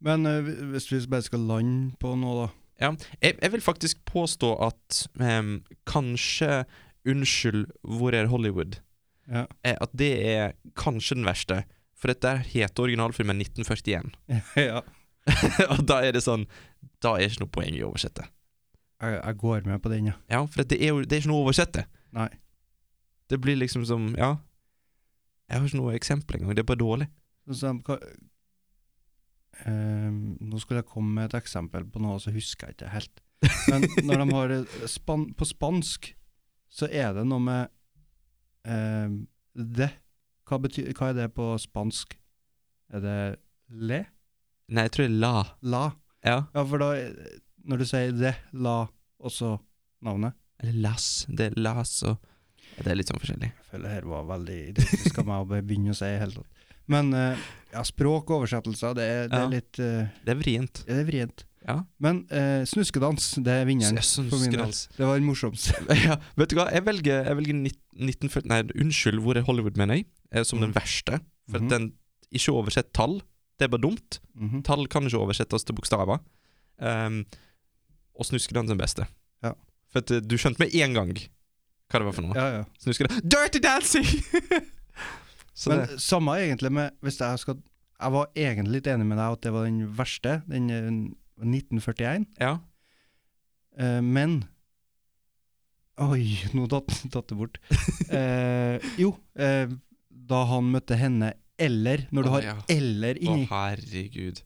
Speaker 11: Men eh, hvis vi bare skal lande på noe, da.
Speaker 10: Jeg, jeg vil faktisk påstå at em, kanskje 'Unnskyld, hvor er Hollywood?'
Speaker 11: Ja.
Speaker 10: eh, at det er kanskje den verste. For at der heter originalfilmen 1941.
Speaker 11: *laughs* ja.
Speaker 10: *laughs* og da er det sånn Da er det ikke noe poeng i å oversette.
Speaker 11: Jeg, jeg går med på den, ja.
Speaker 10: Ja, for at det er jo det er ikke noe å oversette.
Speaker 11: Nei.
Speaker 10: Det blir liksom som Ja. Jeg har ikke noe eksempel engang. Det er bare dårlig.
Speaker 11: Sånn som hva- Ehm, nå skulle jeg komme med et eksempel på noe, så husker jeg ikke helt.
Speaker 10: *laughs*
Speaker 11: Men når de har det span på spansk, så er det noe med ehm, det. Hva, betyr, hva er det på spansk? Er det le?
Speaker 10: Nei, jeg tror det er La.
Speaker 11: La?
Speaker 10: Ja.
Speaker 11: Ja, for da eh, Når du sier det, la, og så navnet
Speaker 10: Eller Las. Det er Las og Det er litt sånn forskjellig.
Speaker 11: Jeg føler det her var veldig idiotisk av meg å begynne å si i det hele tatt. Men eh, ja, språk og oversettelser, det er, det
Speaker 10: Ja.
Speaker 11: er litt eh,
Speaker 10: Det er vrient.
Speaker 11: Det er vrient.
Speaker 10: Ja.
Speaker 11: Men eh, snuskedans, det er vinneren.
Speaker 10: Sånn
Speaker 11: for min del.
Speaker 10: skrans.
Speaker 11: Det var den morsomste. *laughs*
Speaker 10: *laughs* Ja, vet du hva, jeg velger, jeg velger 1940 Nei, unnskyld, hvor er Hollywood, mener jeg, eh, som den
Speaker 11: Mm.
Speaker 10: verste. For
Speaker 11: Mhm.
Speaker 10: at den ikke oversett tall. Det er bare dumt.
Speaker 11: Mhm.
Speaker 10: Tall kan ikke oversettes til bokstaver. Ehm, og snuskedans er den beste.
Speaker 11: Ja.
Speaker 10: For at eh, du skjønte med én gang hva det var for noe.
Speaker 11: Ja, ja.
Speaker 10: Snuskedans Dirty dancing! *laughs* Så
Speaker 11: Men
Speaker 10: det,
Speaker 11: samme egentlig med Hvis jeg skal Jeg var egentlig litt enig med deg at det var den verste, den eh, 1941,
Speaker 10: ja.
Speaker 11: eh, men Oi, nå datt datt det
Speaker 10: *laughs*
Speaker 11: bort. Eh, jo, eh, da han møtte henne, eller Når du
Speaker 10: Å,
Speaker 11: har
Speaker 10: ja.
Speaker 11: 'eller'
Speaker 10: Å,
Speaker 11: inni,
Speaker 10: herregud.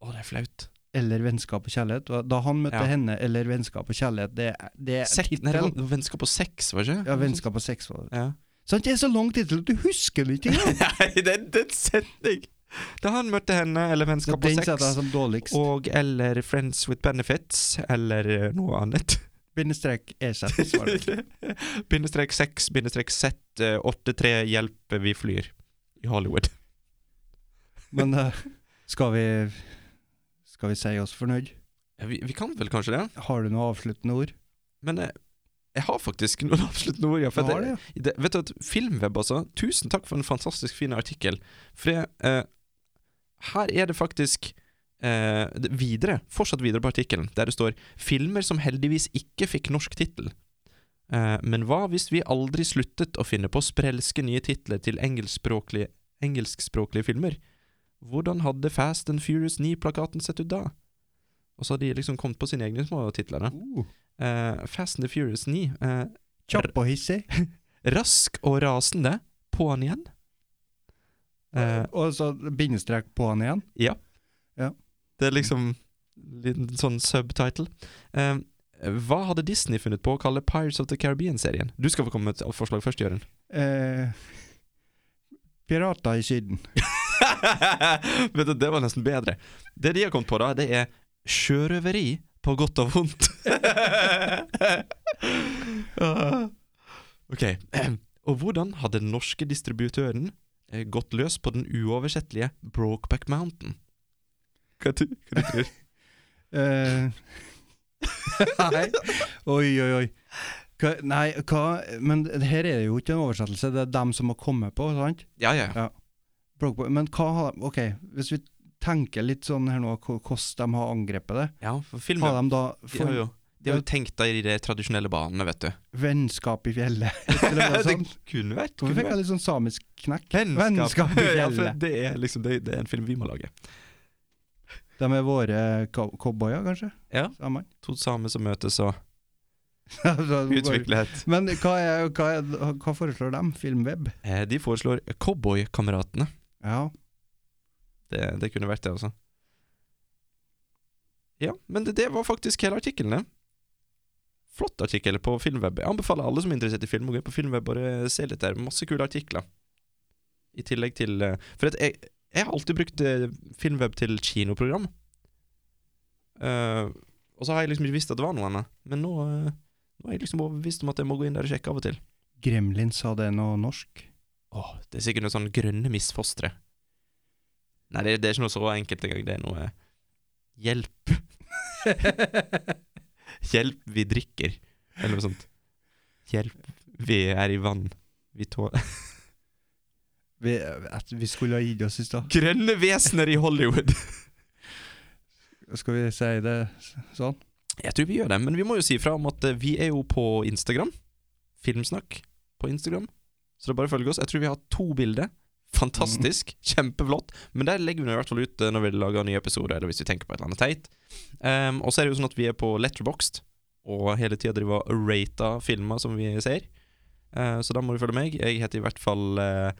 Speaker 10: Å, det er flaut.
Speaker 11: eller 'vennskap og kjærlighet', og da han møtte
Speaker 10: Ja.
Speaker 11: henne, eller 'vennskap og kjærlighet', det, er- det er
Speaker 10: Sek, nei, det var,
Speaker 11: tittelen.
Speaker 10: det var vennskap og sex, var det ikke?
Speaker 11: Ja, 'Vennskap og sex' var det.
Speaker 10: Ja.
Speaker 11: Sånn, det er så lang tittel at du husker det ikke engang!
Speaker 10: Nei, det er det er en setning! Da han møtte henne,
Speaker 11: Så
Speaker 10: eller *laughs* vennskap og
Speaker 11: Den
Speaker 10: sex.
Speaker 11: setter jeg som dårligst. Og
Speaker 10: Og eller Friends with Benefits, eller eh, noe annet.
Speaker 11: bindestrek
Speaker 10: *laughs*
Speaker 11: E6, var det.
Speaker 10: bindestrek 6, bindestrek Z, eh, 83, hjelp, vi flyr. I Hollywood.
Speaker 11: Men eh, skal vi Skal vi si oss fornøyd?
Speaker 10: Ja, vi, vi kan vel kanskje det?
Speaker 11: Har du noe avsluttende ord?
Speaker 10: Men eh, jeg har faktisk noen *laughs* avsluttende ord. Ja, for
Speaker 11: Du
Speaker 10: at
Speaker 11: har det,
Speaker 10: jeg- det, vet du at Filmweb, altså. Tusen takk for en fantastisk fin artikkel. For jeg, eh, her er det faktisk eh, eh, det- videre, fortsatt videre på artikkelen, der det står 'Filmer som heldigvis ikke fikk norsk tittel'. Eh, men hva hvis vi aldri sluttet å finne på sprelske nye titler til engelskspråklige, engelskspråklige filmer? Hvordan hadde Fast and Furious 9-plakaten sett ut da? Og så har de liksom kommet på sine egne små titler. da.
Speaker 11: Uh,
Speaker 10: Eh, Fast and the Furious 9. eh,
Speaker 11: Kjapp og hissig.
Speaker 10: rask og rasende. På'n igjen. Eh,
Speaker 11: Og så bindestrek på han igjen.
Speaker 10: Det er liksom liten sånn subtitle. Eh, hva hadde Disney funnet på å kalle Pirates of the Caribbean-serien? Du skal få komme med et forslag først, Jørund.
Speaker 11: Eh, pirater i Syden.
Speaker 10: *laughs* Vet du, det var nesten bedre. Det de har kommet på, da, det er sjørøveri på godt og vondt. *laughs* Ah. ok. Og hvordan hadde den norske distributøren eh, gått løs på den uoversettelige Brokeback Mountain? Hva du, hva du *laughs* tror
Speaker 11: Eh, nei. Oi, oi, oi. Hva, nei, hva Men det her er jo ikke en oversettelse, det er dem som har kommet på, sant?
Speaker 10: Ja, ja. ja.
Speaker 11: Bloggboi- Men hva har de Ok, hvis vi tenker litt sånn her nå, hva- hvordan de har angrepet det.
Speaker 10: ja for filmen,
Speaker 11: Har de da
Speaker 10: de, har
Speaker 11: for
Speaker 10: jo, de har jo tenkt da i de tradisjonelle banene, vet du.
Speaker 11: vennskap i *laughs* fjellet? Eller noe
Speaker 10: *laughs* det
Speaker 11: sånt?
Speaker 10: kunne vært.
Speaker 11: Hvorfor
Speaker 10: Kunne
Speaker 11: fikk jeg
Speaker 10: vært.
Speaker 11: litt sånn samisk knekk? i
Speaker 10: *laughs* Ja, for
Speaker 11: fjellet.
Speaker 10: det er liksom det, det er en film vi må lage.
Speaker 11: De er våre cow- cowboyer, kanskje?
Speaker 10: Ja.
Speaker 11: Samene?
Speaker 10: To samer som møtes og
Speaker 11: *laughs* Så går-
Speaker 10: utvikler et
Speaker 11: Men hva, er, hva, er, hva foreslår de? Filmweb?
Speaker 10: Eh, De foreslår Cowboykameratene.
Speaker 11: Ja.
Speaker 10: Det, det kunne vært det også. Ja, men det, det var faktisk hele artikkelen. det. Flott artikkel på Filmweb. Jeg anbefaler alle som er interessert i film, å gå inn på Filmweb og eh, se litt der. Masse kule artikler. I tillegg til eh, For at jeg, jeg har alltid brukt eh, Filmweb til kinoprogram. Eh, og så har jeg liksom ikke visst at det var noe annet. Men nå, eh, nå er jeg liksom overbevist om at jeg må gå inn der og sjekke av og til.
Speaker 11: Gremlins hadde noe norsk.
Speaker 10: Åh, det er sikkert noe sånn grønne misfostre. Nei, det, det er ikke noe så enkelt engang. Det er noe Hjelp. *laughs* Hjelp, vi drikker. Eller noe sånt. Hjelp, vi er i vann. Vi tåler *laughs*
Speaker 11: Vi, at vi skulle ha gitt oss i stad.
Speaker 10: Grønne vesener i Hollywood!
Speaker 11: Skal vi si det s- *laughs* sånn?
Speaker 10: Jeg tror vi gjør det, men vi må jo si fra om at eh, vi er jo på Instagram. Filmsnakk på Instagram. Så det er bare å følge oss. Jeg tror vi har to bilder. Fantastisk. Kjempeflott. Men der legger vi nå i hvert fall ut eh, når vi lager nye episoder, eller hvis vi tenker på et eller annet teit. Ehm, og så er det jo sånn at vi er på Letterboxd, og hele tida driver og rater filmer som vi ser. Eh, så da må du følge meg. Jeg heter i hvert fall eh,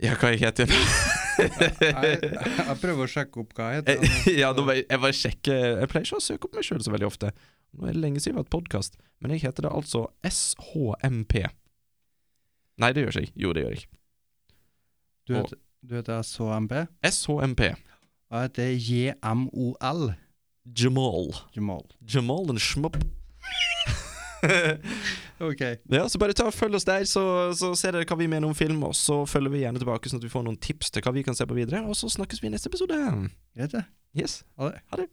Speaker 10: Ja, hva jeg heter *laughs* jeg?
Speaker 11: jeg prøver å sjekke opp hva jeg *laughs*
Speaker 10: Jeg- Eh, *laughs* ja, nå må jeg, jeg bare sjekker Jeg pleier ikke å søke opp meg sjøl så veldig ofte. Nå er det lenge siden vi har hatt podkast, men jeg heter da altså SHMP. Nei, det gjør ikke jeg. Jo, det gjør jeg.
Speaker 11: Du heter, du heter SHMP?
Speaker 10: SHMP.
Speaker 11: Jeg heter JMOL.
Speaker 10: Jamal.
Speaker 11: Jamal.
Speaker 10: Jamal and Schmup.
Speaker 11: Ok.
Speaker 10: *laughs* ja, så bare ta og følg oss der, så, så ser dere hva vi mener om film, og så følger vi gjerne tilbake, sånn at vi får noen tips til hva vi kan se på videre, og så snakkes vi i neste episode.
Speaker 11: Greit, det.
Speaker 10: Yes.
Speaker 11: Ha det.
Speaker 10: Ha det.